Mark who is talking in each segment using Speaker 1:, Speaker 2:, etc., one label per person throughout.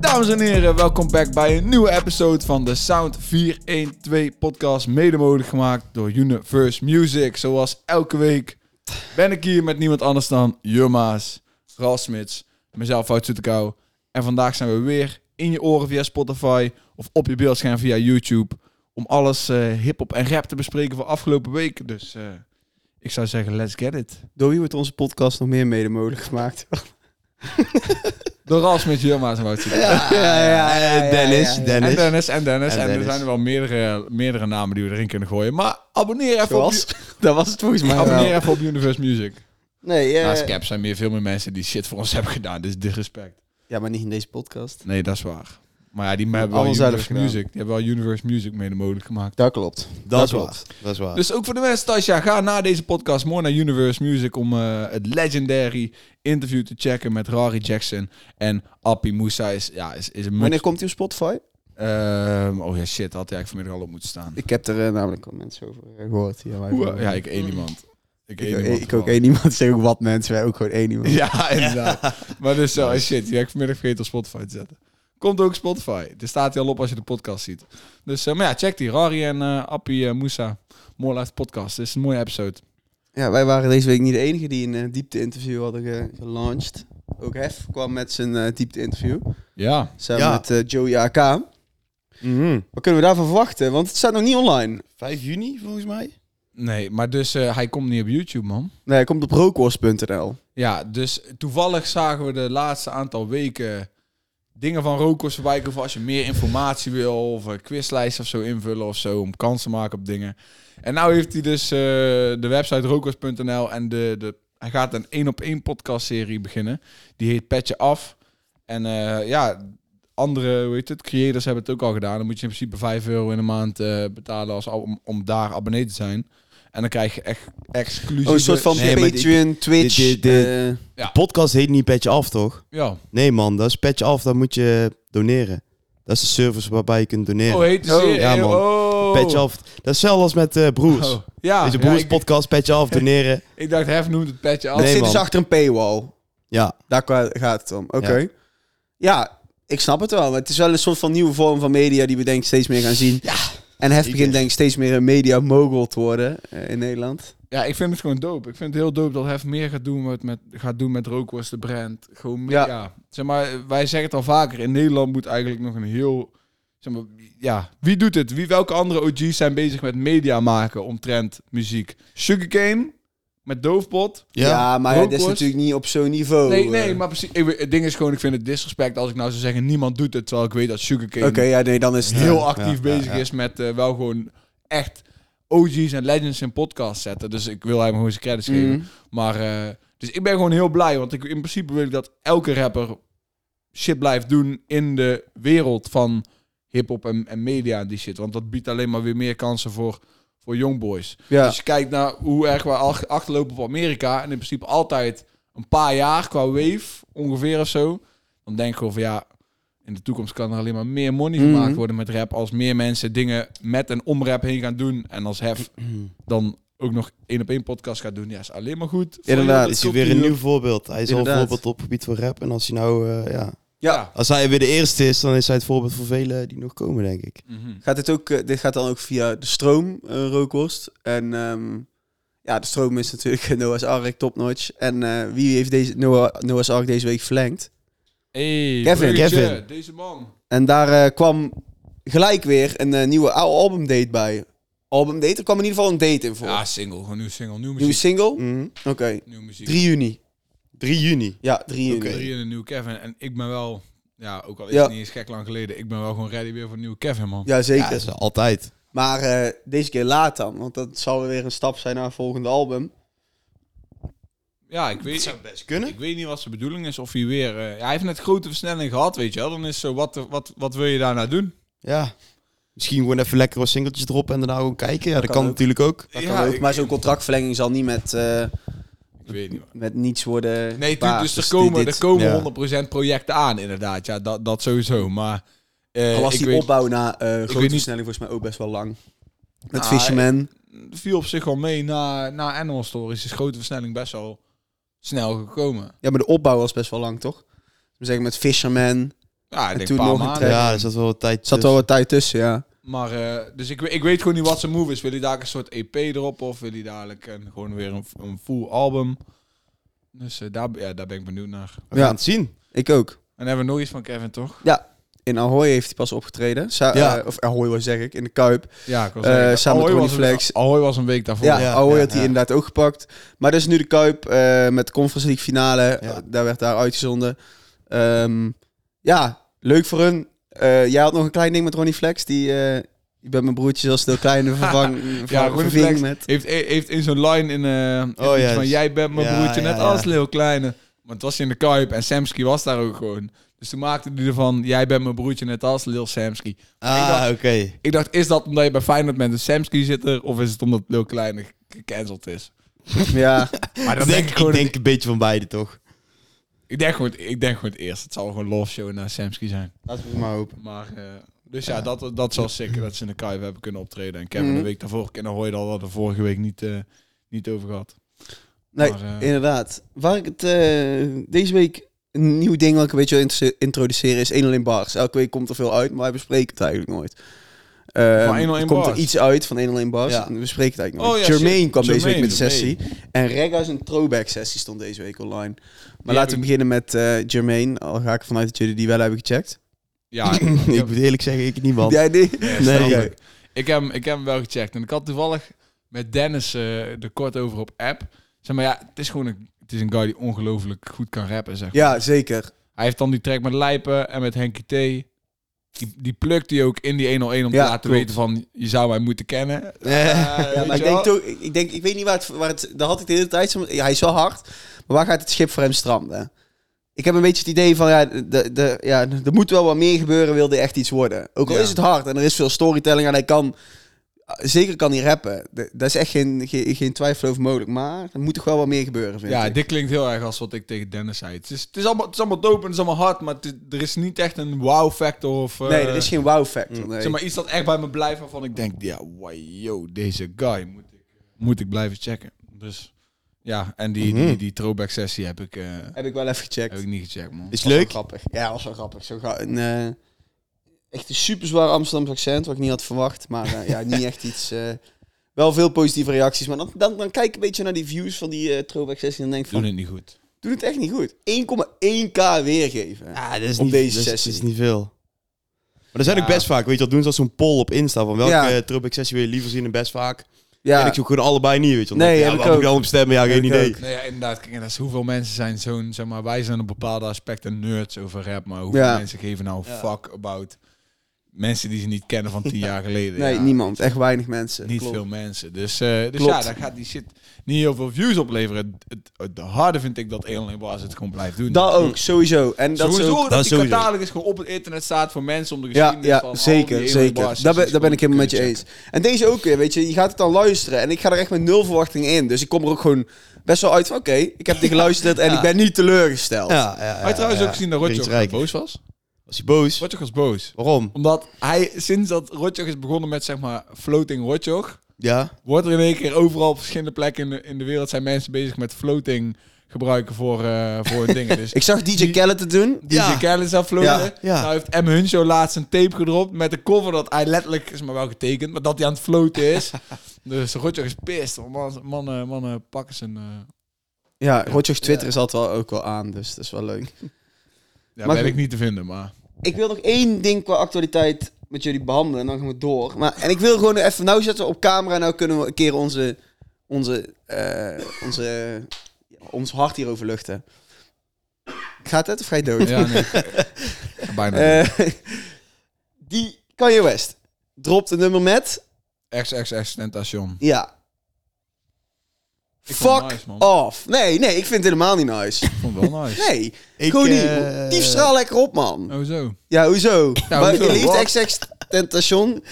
Speaker 1: Dames en heren, welkom back bij een nieuwe episode van de Sound 412 podcast. Mede mogelijk gemaakt door Universe Music. Zoals elke week ben ik hier met niemand anders dan Jumma's, Rasmits, mezelf uit Zoetekau. En vandaag zijn we weer in je oren via Spotify of op je beeldscherm via YouTube. Om alles eh hip-hop en rap te bespreken van afgelopen week. Dus eh, ik zou zeggen, let's get it.
Speaker 2: Door wie wordt onze podcast nog meer mede mogelijk gemaakt?
Speaker 1: Door Rasmits, Jumma's en Wout Zoetekau.
Speaker 2: Ja, ja, ja,
Speaker 3: Dennis,
Speaker 2: ja, ja.
Speaker 3: Dennis.
Speaker 1: En Eh, Dennis, en Dennis. En,
Speaker 3: En
Speaker 1: er
Speaker 3: Dennis.
Speaker 1: zijn er wel meerdere, meerdere namen die we erin kunnen gooien. Maar abonneer even, op,
Speaker 2: Zoals? Dat was het volgens mij
Speaker 1: abonneer
Speaker 2: wel.
Speaker 1: even op Universe Music.
Speaker 2: Nee, eh,
Speaker 1: Naast Cap zijn meer veel meer mensen die shit voor ons hebben gedaan. Dit is disrespect.
Speaker 2: ja, maar niet in deze podcast.
Speaker 1: Nee, dat is waar. Maar ja, die hebben wel
Speaker 2: Alles
Speaker 1: Universe
Speaker 2: zelf gedaan.
Speaker 1: Music. Die hebben wel Universe Music mede mogelijk gemaakt.
Speaker 2: Dat klopt.
Speaker 3: Dat,
Speaker 2: Dat
Speaker 3: is
Speaker 2: klopt.
Speaker 3: wat. Dat is waar.
Speaker 1: Dus ook voor de mensen thuis, ja, ga na deze podcast mooi naar Universe Music om eh, het legendary interview te checken met Rari Jackson en Appie Moussa is, ja, is, is een...
Speaker 2: Wanneer
Speaker 1: must-
Speaker 2: komt hij op Spotify?
Speaker 1: Ehm, oh ja, shit, dat had hij eigenlijk vanmiddag al op moeten staan.
Speaker 2: Ik heb er eh, namelijk wat mensen over eh, gehoord. Hier, waar
Speaker 1: Hoe-
Speaker 2: ik-
Speaker 1: ja, ik één iemand. Ik, één
Speaker 2: mm. ik,
Speaker 1: iemand
Speaker 2: ik, ook
Speaker 1: gewoon.
Speaker 2: één iemand. Zeg ook wat mensen. Wij ook gewoon één iemand.
Speaker 1: Ja, inderdaad. Maar dus zo, shit, die heb ik vanmiddag vergeten op Spotify te zetten. Komt ook Spotify. Er staat hij al op als je de podcast ziet. Dus, eh, maar ja, check die. Rari en eh, Appie eh, Moussa. Mooi live podcast. Dit is een mooie episode.
Speaker 2: Ja, wij waren deze week niet de enige die een eh, diepte-interview hadden ge- gelanceerd. Ook Hef kwam met zijn eh, diepte-interview.
Speaker 1: Ja.
Speaker 2: Samen
Speaker 3: Ja.
Speaker 2: met eh, Joey AK. Wat kunnen we daarvan verwachten? Want het staat nog niet online.
Speaker 3: 5 juni volgens mij.
Speaker 1: Nee, maar dus eh, hij komt niet op YouTube, man.
Speaker 2: Nee, hij komt op rookwars.nl.
Speaker 1: Ja, dus toevallig zagen we de laatste aantal weken dingen van Rokos voorbij komen. Of Als je meer informatie wil of een quizlijst of zo invullen of zo. Om kansen te maken op dingen. En nou heeft hij dus eh, de website rokos.nl en de, de, hij gaat een één op één podcast serie beginnen. Die heet Petje Af. En eh, ja, andere, hoe heet het, creators hebben het ook al gedaan. Dan moet je in principe 5 euro in de maand eh, betalen als, om, om daar abonnee te zijn. En dan krijg je echt exclusief.
Speaker 2: Oh, een soort van
Speaker 3: Nee, maar dit-
Speaker 2: Patreon, Twitch.
Speaker 3: dit- dit-
Speaker 2: eh,
Speaker 3: Podcast heet niet Patch Af, toch?
Speaker 1: Ja.
Speaker 3: Nee man, dat is Patch Af, dat moet je doneren. Dat is de service waarbij je kunt doneren.
Speaker 1: Oh, heet de
Speaker 2: Oh,
Speaker 1: serie?
Speaker 3: ja, man.
Speaker 1: Oh.
Speaker 3: Patch Af, dat is hetzelfde als met eh, Broers.
Speaker 1: Oh, Ja,
Speaker 3: Deze
Speaker 1: ja
Speaker 3: Broers
Speaker 1: ik,
Speaker 3: podcast, Patch Af, doneren.
Speaker 1: ik dacht, Hef noemt het petje af.
Speaker 2: dat
Speaker 3: Nee,
Speaker 2: zit dus
Speaker 3: man.
Speaker 2: achter een paywall.
Speaker 3: Ja,
Speaker 2: Daar kwa- gaat het om. Oké. Ja. ik snap het wel. Maar het is wel een soort van nieuwe vorm van media die we denk ik steeds meer gaan zien. Ja. En Hef begint denk ik steeds meer een media mogul te worden eh, in Nederland.
Speaker 1: Ja, ik vind het gewoon dope. Ik vind het heel dope dat Hef meer gaat doen met, met, gaat doen met Rookworst, de brand. Gewoon meer, ja.
Speaker 2: Ja.
Speaker 1: Zeg maar, wij zeggen het al vaker, in Nederland moet eigenlijk nog een heel... Zeg maar, ja, wie doet het? Wie, welke andere OG's zijn bezig met media maken omtrent muziek? Sugarcane, met Doofpot.
Speaker 3: ja.
Speaker 2: maar ja, dat is
Speaker 1: Rookworst.
Speaker 2: natuurlijk niet op zo'n
Speaker 3: Oh,
Speaker 2: niveau.
Speaker 1: nee, nee,
Speaker 2: eh.
Speaker 1: maar precies. Ik, het ding is gewoon, ik vind het disrespect als ik nou zou zeggen, niemand doet het. Terwijl ik weet dat Sugarcane
Speaker 2: Oké, ja, nee, dan is het eh,
Speaker 1: heel
Speaker 3: ja,
Speaker 1: actief
Speaker 3: ja,
Speaker 1: bezig
Speaker 3: ja.
Speaker 1: is met eh, wel gewoon echt OG's en legends in podcast zetten. Dus ik wil hem gewoon zijn credits geven.
Speaker 2: Mm.
Speaker 1: Maar eh, dus ik ben gewoon heel blij, want ik, in principe wil ik dat elke rapper shit blijft doen in de wereld van hip-hop en, en media en die shit. Want dat biedt alleen maar weer meer kansen voor, voor jongboys.
Speaker 2: Ja.
Speaker 1: Als Dus je kijkt naar hoe erg we ach- achterlopen op Amerika en in principe altijd een paar jaar qua wave ongeveer of zo, dan denk ik gewoon van ja. In de toekomst kan er alleen maar meer money gemaakt
Speaker 2: Mhm.
Speaker 1: worden met rap. Als meer mensen dingen met en om rap heen gaan doen. En als Hef dan ook nog één op één podcast gaat doen. Ja, is alleen maar goed. voor
Speaker 2: Inderdaad,
Speaker 1: heel de
Speaker 3: is hij weer een
Speaker 1: cultuur.
Speaker 3: nieuw voorbeeld. Hij is al een
Speaker 2: Inderdaad.
Speaker 3: voorbeeld op het gebied van rap. En als hij nou, eh, ja...
Speaker 1: Ja.
Speaker 3: Als hij weer de eerste is, dan is hij het voorbeeld voor velen die nog komen, denk ik.
Speaker 1: Mhm.
Speaker 2: Gaat dit, ook, eh, dit gaat dan ook via de stroom, eh Rookworst. En ehm, ja, de stroom is natuurlijk Noah's Ark, topnotch. En eh, wie heeft deze, Noah, Noah's Ark deze week verlengd?
Speaker 1: Hey,
Speaker 2: Kevin,
Speaker 1: bruggetje,
Speaker 3: Kevin.
Speaker 1: Deze man.
Speaker 2: En daar eh, kwam gelijk weer een eh, nieuwe al- albumdate bij. Albumdate? Er kwam in ieder geval een date in voor.
Speaker 1: Ja, Mm. single. Gewoon nieuw single. Nieuw
Speaker 2: Nieuwe
Speaker 1: muziek.
Speaker 2: single?
Speaker 1: Mm-hmm.
Speaker 2: Oké.
Speaker 1: Nieuw muziek.
Speaker 2: 3 juni.
Speaker 3: 3 juni.
Speaker 2: Ja, 3 juni.
Speaker 1: Drie in een nieuw Kevin. En ik ben wel... Ja, ook al is
Speaker 2: Ja.
Speaker 1: het niet eens gek lang geleden. Ik ben wel gewoon ready weer voor een nieuwe Kevin, man.
Speaker 2: Ja,
Speaker 3: Ja,
Speaker 2: zeker.
Speaker 3: dat is altijd.
Speaker 2: Maar eh, deze keer laat dan, want dat zal weer een stap zijn naar het volgende album.
Speaker 1: Ja, ik weet...
Speaker 3: best
Speaker 1: Ik weet niet wat zijn bedoeling is. Of hij weer... eh, ja, hij heeft net grote versnelling gehad, weet je wel. Dan is zo, wat, wat, wat wil je daarna doen?
Speaker 3: Ja. Misschien gewoon even lekker wat singeltjes droppen en daarna gewoon kijken. Ja, dat,
Speaker 2: kan
Speaker 3: kan
Speaker 2: ook.
Speaker 3: natuurlijk ook.
Speaker 2: Dat
Speaker 1: Ja,
Speaker 2: kan ook,
Speaker 1: ik-
Speaker 2: maar zo'n contractverlenging zal niet met, eh,
Speaker 1: Ik weet niet.
Speaker 2: met niets worden
Speaker 1: Nee, tuurlijk,
Speaker 2: gepaard.
Speaker 1: dus er
Speaker 2: die-
Speaker 1: komen,
Speaker 2: dit-
Speaker 1: er komen
Speaker 3: ja.
Speaker 1: 100% projecten aan, inderdaad. Ja, dat, dat sowieso. Maar eh
Speaker 2: Al was
Speaker 1: ik
Speaker 2: die
Speaker 1: weet,
Speaker 2: opbouw na eh grote
Speaker 1: niet-
Speaker 2: versnelling volgens mij ook best wel lang. Met
Speaker 1: Ah,
Speaker 2: Fisherman.
Speaker 1: viel op zich wel mee na, na Animal Stories. Is grote versnelling best wel snel gekomen.
Speaker 2: Ja, maar de opbouw was best wel lang, toch? We zeggen met Fisherman, dus-
Speaker 1: Ja, ik
Speaker 2: En
Speaker 1: denk
Speaker 2: toen
Speaker 1: een paar
Speaker 2: nog een
Speaker 3: Ja,
Speaker 1: maanden.
Speaker 2: trek.
Speaker 3: er zat wel wat tijd
Speaker 2: Zat wel wat tijd tussen, ja.
Speaker 1: Maar, eh, dus ik, we- ik weet gewoon niet wat zijn move is. Wil hij daar een soort EP erop of wil hij dadelijk een, gewoon weer een, een full album? Dus eh, daar, ja, daar ben ik benieuwd naar. En
Speaker 3: We gaan
Speaker 2: Ja.
Speaker 3: het zien.
Speaker 2: Ik ook.
Speaker 1: dan hebben we nog iets van Kevin, toch?
Speaker 2: In Ahoy heeft hij pas opgetreden. Sa-
Speaker 3: Ja.
Speaker 2: eh, of Ahoy, wat zeg ik? In de Kuip.
Speaker 1: Ja, ik was
Speaker 2: Eh, samen met Ronnie Flex.
Speaker 1: Ahoy was een week daarvoor.
Speaker 2: Ja,
Speaker 3: Ja,
Speaker 2: Ahoy
Speaker 3: ja,
Speaker 2: had hij
Speaker 3: ja.
Speaker 2: inderdaad ook gepakt. Maar dat is nu de Kuip eh, met de Conference League finale. Eh,
Speaker 3: Ja.
Speaker 2: Daar werd daar uitgezonden. Ehm, ja, leuk voor hun. Eh, jij had nog een klein ding met Ronnie Flex. Die, eh ik ben mijn broertje zoals de kleine vervang,
Speaker 1: Ja,
Speaker 2: ja,
Speaker 1: Ronnie
Speaker 2: verving
Speaker 1: Flex.
Speaker 2: met.
Speaker 1: Heeft, heeft in zo'n line in, eh
Speaker 3: Oh,
Speaker 1: iets
Speaker 3: ja,
Speaker 1: van
Speaker 3: dus-
Speaker 1: jij bent mijn
Speaker 3: ja,
Speaker 1: broertje
Speaker 3: ja,
Speaker 1: net
Speaker 3: ja.
Speaker 1: als Lil Kleine. Want het was in de Kuip en Samsky was daar ook gewoon. Dus toen maakte hij ervan, jij bent mijn broertje net als Lil Samsky.
Speaker 3: Ah, oké.
Speaker 1: Ik dacht, is dat omdat je bij Feyenoord met een Samsky zit er? Of is het omdat Lil Kleine ge- gecanceld is?
Speaker 2: Ja,
Speaker 1: Maar
Speaker 3: Ik denk, ik denk een beetje van beide, toch?
Speaker 1: Ik denk gewoon, ik denk gewoon het eerst. Het zal gewoon love show naar Samsky zijn.
Speaker 3: Laten we maar hopen.
Speaker 1: Maar, eh, dus ja, dat, dat zal zeker dat ze in de Kuip hebben kunnen optreden. En Kevin
Speaker 2: Mhm.
Speaker 1: de week daarvoor, en dan hoor je dat hadden we vorige week niet, eh, niet over gehad.
Speaker 2: nee,
Speaker 1: Maar, eh,
Speaker 2: inderdaad. Waar ik het eh, deze week een nieuw ding wat ik een beetje wil introdu- introduceren is 1 alleen bars. Elke week komt er veel uit, maar wij bespreken het eigenlijk nooit. Ehm,
Speaker 1: Van 101
Speaker 2: er komt
Speaker 1: bars.
Speaker 2: er iets uit van 1 alleen bars
Speaker 3: Ja.
Speaker 2: en we bespreken het eigenlijk nooit.
Speaker 1: Oh ja,
Speaker 2: Jermaine
Speaker 1: shit.
Speaker 2: kwam deze week
Speaker 1: Jermaine,
Speaker 2: met een sessie. En Regga's een throwback sessie stond deze week online.
Speaker 1: heb
Speaker 2: Maar laten we
Speaker 1: ik-
Speaker 2: beginnen met eh Jermaine. Al ga ik ervan uit dat jullie die wel hebben gecheckt.
Speaker 1: Ja, ik,
Speaker 3: ik
Speaker 1: heb-
Speaker 3: moet eerlijk zeggen, ik niet, man.
Speaker 2: Jij die?
Speaker 1: ja,
Speaker 3: Nee,
Speaker 1: snap
Speaker 2: oké.
Speaker 1: ik. ik, heb, hem- ik heb hem wel gecheckt. En ik had toevallig met Dennis eh er kort over op app. Zeg maar ja, het is gewoon een, het is een guy die ongelooflijk goed kan rappen. Zeg. maar.
Speaker 2: Ja, zeker.
Speaker 1: Hij heeft dan die track met Lijpen en met Henky T. Die, die plukt hij ook in die 101 om
Speaker 2: Ja,
Speaker 1: te laten
Speaker 2: klopt.
Speaker 1: weten van je zou mij moeten kennen.
Speaker 2: Eh, Ja, maar ik denk toch, ik, ik denk, ik weet niet waar het, waar het, daar had ik de hele tijd, zo- ja, hij is wel hard, maar waar gaat het schip voor hem stranden? Ik heb een beetje het idee van, ja, de, de, ja er moet wel wat meer gebeuren, wil hij echt iets worden. Ook al
Speaker 1: Ja.
Speaker 2: is het hard en er is veel storytelling en hij kan, zeker kan hij rappen. De- Daar is echt geen, geen, geen twijfel over mogelijk, maar er moet toch wel wat meer gebeuren, vind
Speaker 1: Ja,
Speaker 2: ik.
Speaker 1: dit klinkt heel erg als wat ik tegen Dennis zei. Het is, het is, allemaal, het is allemaal dope en het is allemaal hard, maar het is- er is niet echt een wow factor of... eh, mm.
Speaker 2: nee, er is geen wow factor, nee.
Speaker 1: Zeg maar iets dat echt bij me blijft waarvan ik denk, ja, wow, yo, deze guy moet ik, moet ik blijven checken. Dus ja, en die,
Speaker 2: Mhm.
Speaker 1: die, die throwback sessie heb ik, eh,
Speaker 2: Heb ik wel even gecheckt.
Speaker 1: heb ik niet gecheckt, man.
Speaker 3: Is
Speaker 2: Was wel
Speaker 3: leuk.
Speaker 2: grappig. Ja, was wel grappig. Zo ga een, eh, echt een super zwaar Amsterdams accent, wat ik niet had verwacht. Maar eh, ja, niet echt iets. eh, wel veel positieve reacties. Maar dan, dan, dan kijk ik een beetje naar die views van die eh throwback sessie en dan denk ik
Speaker 1: Doen
Speaker 2: van,
Speaker 1: het niet goed.
Speaker 2: doe het echt niet goed. 1,1k weergeven.
Speaker 3: Ja, dat is
Speaker 2: Op
Speaker 3: niet,
Speaker 2: deze
Speaker 3: dat is-
Speaker 2: sessie.
Speaker 3: is niet veel. Maar er zijn
Speaker 1: Ja.
Speaker 3: ook best vaak, weet je wat, doen ze als zo'n poll op Insta van welke
Speaker 2: Ja.
Speaker 3: ja. sessie wil je liever zien en best vaak. En
Speaker 2: Ja,
Speaker 3: ik zoek gewoon allebei niet, weet je.
Speaker 2: Nee,
Speaker 3: Nee, ja,
Speaker 2: heb
Speaker 3: waar
Speaker 2: ik
Speaker 3: moet ik
Speaker 2: ook.
Speaker 3: dan op stemmen? Ja,
Speaker 2: Heb
Speaker 3: geen
Speaker 2: ik
Speaker 3: idee.
Speaker 2: ook.
Speaker 1: Nee, ja, inderdaad. Kijk, en dat is hoeveel mensen zijn zo'n, zeg maar, wij zijn op bepaalde aspecten nerds over rap, maar hoeveel
Speaker 2: Ja.
Speaker 1: mensen geven nou
Speaker 3: Ja.
Speaker 1: fuck about mensen die ze niet kennen van tien jaar geleden.
Speaker 2: nee,
Speaker 1: ja.
Speaker 2: niemand. Echt weinig mensen.
Speaker 1: Niet
Speaker 2: Klopt.
Speaker 1: veel mensen. Dus, eh, dus
Speaker 2: Klopt.
Speaker 1: ja, daar gaat die shit niet heel veel views opleveren. Het, het, het harde vind ik dat Alien Bars het gewoon blijft doen. Mm.
Speaker 2: Dat ook, sowieso. En dat is
Speaker 1: sowieso
Speaker 2: ook...
Speaker 1: dat,
Speaker 3: dat
Speaker 1: die
Speaker 3: sowieso.
Speaker 1: catalogus gewoon op het internet staat voor mensen om de
Speaker 2: Ja,
Speaker 1: geschiedenis van
Speaker 2: ja
Speaker 1: al
Speaker 2: zeker,
Speaker 1: die
Speaker 2: zeker.
Speaker 1: Alien
Speaker 2: Daar ben,
Speaker 1: Bars
Speaker 2: daar ben ik helemaal met je
Speaker 1: kunnen
Speaker 2: eens. En deze ook weer, weet je. Je gaat het dan luisteren. En ik ga er echt met nul verwachting in. Dus ik kom er ook gewoon best wel uit van... Oké, ik heb dit geluisteren en ik ben niet teleurgesteld.
Speaker 3: Ja, ja, ja,
Speaker 1: Had je trouwens
Speaker 3: ja.
Speaker 1: ook gezien dat Rotjoch
Speaker 3: Rich Rijk.
Speaker 1: boos was?
Speaker 3: Was hij boos?
Speaker 1: Rotjoch was boos.
Speaker 3: Waarom?
Speaker 1: Omdat hij, sinds dat Rotjoch is begonnen met, zeg maar, floating Rotjoch,
Speaker 3: Ja.
Speaker 1: wordt er in één keer overal op verschillende plekken in de, in de wereld zijn mensen bezig met floating gebruiken voor, eh, voor hun dingen. Dus
Speaker 2: Ik zag DJ Khaled het doen.
Speaker 1: Die
Speaker 3: Ja.
Speaker 1: ja. Khaled zou floten.
Speaker 3: Ja, ja.
Speaker 1: Nou heeft M. Huncho laatst een tape gedropt met de cover dat hij letterlijk, is maar wel getekend, maar dat hij aan het floten is. dus Roger is pissed. want Man, mannen, mannen pakken zijn... eh,
Speaker 2: Ja, Rotjoch Twitter is altijd wel ook wel aan, dus dat is wel leuk.
Speaker 1: ja,
Speaker 2: Maar
Speaker 1: ben
Speaker 2: goed.
Speaker 1: ik niet te vinden, maar...
Speaker 2: Ik wil nog één ding qua actualiteit met jullie behandelen en dan gaan we door. Maar, en ik wil gewoon even, nou zetten we op camera, nou kunnen we een keer onze, onze, eh, onze, ons hart hierover luchten. Gaat het of ga je dood?
Speaker 1: Ja, nee. Bijna.
Speaker 2: Eh, die Kanye West dropt een nummer met,
Speaker 1: Eh. XXX Tentation.
Speaker 2: ja.
Speaker 1: Ik vond het
Speaker 2: Fuck
Speaker 1: nice, man.
Speaker 2: off. Nee, nee, ik vind het helemaal niet nice.
Speaker 1: Ik vond het wel nice.
Speaker 2: Nee,
Speaker 3: Ik,
Speaker 2: gewoon niet.
Speaker 3: eh,
Speaker 2: Die straal lekker op, man.
Speaker 1: Oh, zo.
Speaker 2: Ja, hoezo?
Speaker 1: Ja,
Speaker 2: maar
Speaker 1: hoezo?
Speaker 2: je liefde
Speaker 1: Wat?
Speaker 2: XX Tentation.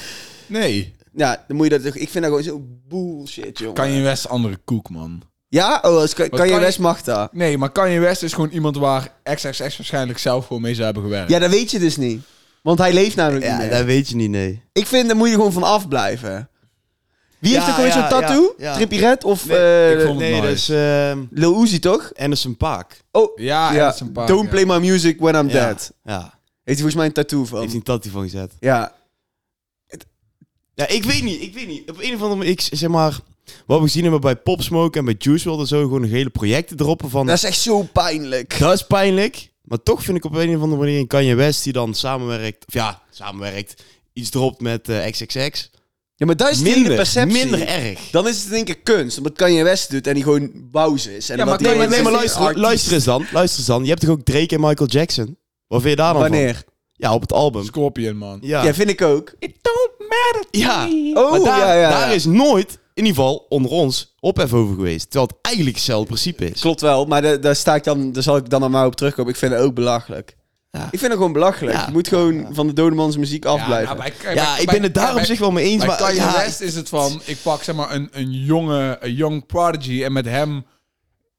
Speaker 1: Nee.
Speaker 2: Ja, dan moet je dat toch... Ik vind dat gewoon zo bullshit, jongen.
Speaker 1: Kanye West andere koek, man.
Speaker 2: Ja? Oh, als kan, kan je
Speaker 1: kan
Speaker 2: best
Speaker 1: je-
Speaker 2: mag dat.
Speaker 1: Nee, maar Kanye West is gewoon iemand waar XXX waarschijnlijk zelf gewoon mee zou hebben gewerkt.
Speaker 2: Ja, dat weet je dus niet. Want hij leeft namelijk niet
Speaker 3: Ja,
Speaker 2: meer.
Speaker 3: dat weet je niet, nee.
Speaker 2: Ik vind, daar moet je gewoon van afblijven. Wie
Speaker 3: Ja,
Speaker 2: heeft er gewoon
Speaker 3: ja,
Speaker 2: zo'n tattoo?
Speaker 3: ja, ja.
Speaker 2: Trippie Red of
Speaker 3: Nee,
Speaker 2: eh,
Speaker 1: ik vond- het
Speaker 3: nee,
Speaker 1: nice.
Speaker 3: dat is ehm,
Speaker 2: Lil Uzi, toch?
Speaker 3: Anderson Paak.
Speaker 2: Oh,
Speaker 1: Ja,
Speaker 2: ja.
Speaker 1: Anderson Paak,
Speaker 2: Don't
Speaker 1: Ah, ja.
Speaker 2: play my music when I'm
Speaker 3: Ja.
Speaker 2: dead.
Speaker 3: Ja.
Speaker 2: hij volgens mij een tattoo van.
Speaker 3: Heeft hij een tattoo van gezet?
Speaker 2: Ja.
Speaker 3: Ja, ik weet niet. Ik weet niet. Op een of andere manier, ik zeg maar... Wat we gezien hebben bij Pop Smoke en bij Juice WRLD en zo, gewoon nog hele projecten droppen van...
Speaker 2: Dat is echt zo pijnlijk.
Speaker 3: Dat is pijnlijk. Maar toch vind ik op een of andere manier een Kanye West die dan samenwerkt... Of ja, samenwerkt. Iets dropt met eh, XXX.
Speaker 2: Ja, maar dat is de hele
Speaker 3: Minder,
Speaker 2: perceptie.
Speaker 3: minder erg.
Speaker 2: Dan is het in één keer kunst, omdat Kanye West doet en die gewoon bouws is. En
Speaker 1: Ja,
Speaker 2: omdat
Speaker 1: maar
Speaker 2: die
Speaker 1: Kanye-
Speaker 2: gewoon-
Speaker 3: Nee, maar
Speaker 1: is
Speaker 2: Artiest.
Speaker 3: luister, luister eens dan. Luister eens dan. Je hebt toch ook Drake en Michael Jackson? Wat vind je daar dan van?
Speaker 2: Wanneer?
Speaker 3: Ja, op het album.
Speaker 1: Scorpion, man.
Speaker 3: Ja.
Speaker 2: Ja, vind ik ook.
Speaker 1: It don't matter to
Speaker 3: Ja.
Speaker 1: me.
Speaker 2: Oh,
Speaker 3: Maar daar,
Speaker 2: ja, ja.
Speaker 3: daar is nooit, in ieder geval onder ons, ophef over geweest. Terwijl het eigenlijk hetzelfde principe is.
Speaker 2: Klopt wel, maar da- daar, sta ik dan, daar zal ik dan aan mij op terugkomen. Ik vind het ook belachelijk.
Speaker 3: Ja.
Speaker 2: Ik vind het gewoon belachelijk.
Speaker 3: Ja.
Speaker 2: Je moet gewoon van de dodemans muziek afblijven.
Speaker 1: nou, bij- bij-
Speaker 3: Ja,
Speaker 1: bij-
Speaker 3: ik ben het daar
Speaker 1: ja,
Speaker 3: op
Speaker 1: bij-
Speaker 3: zich wel mee eens.
Speaker 1: Bij
Speaker 3: Maar
Speaker 1: Kanye
Speaker 3: ja,
Speaker 1: West is het van, ik pak zeg maar een, een jonge, een young prodigy en met hem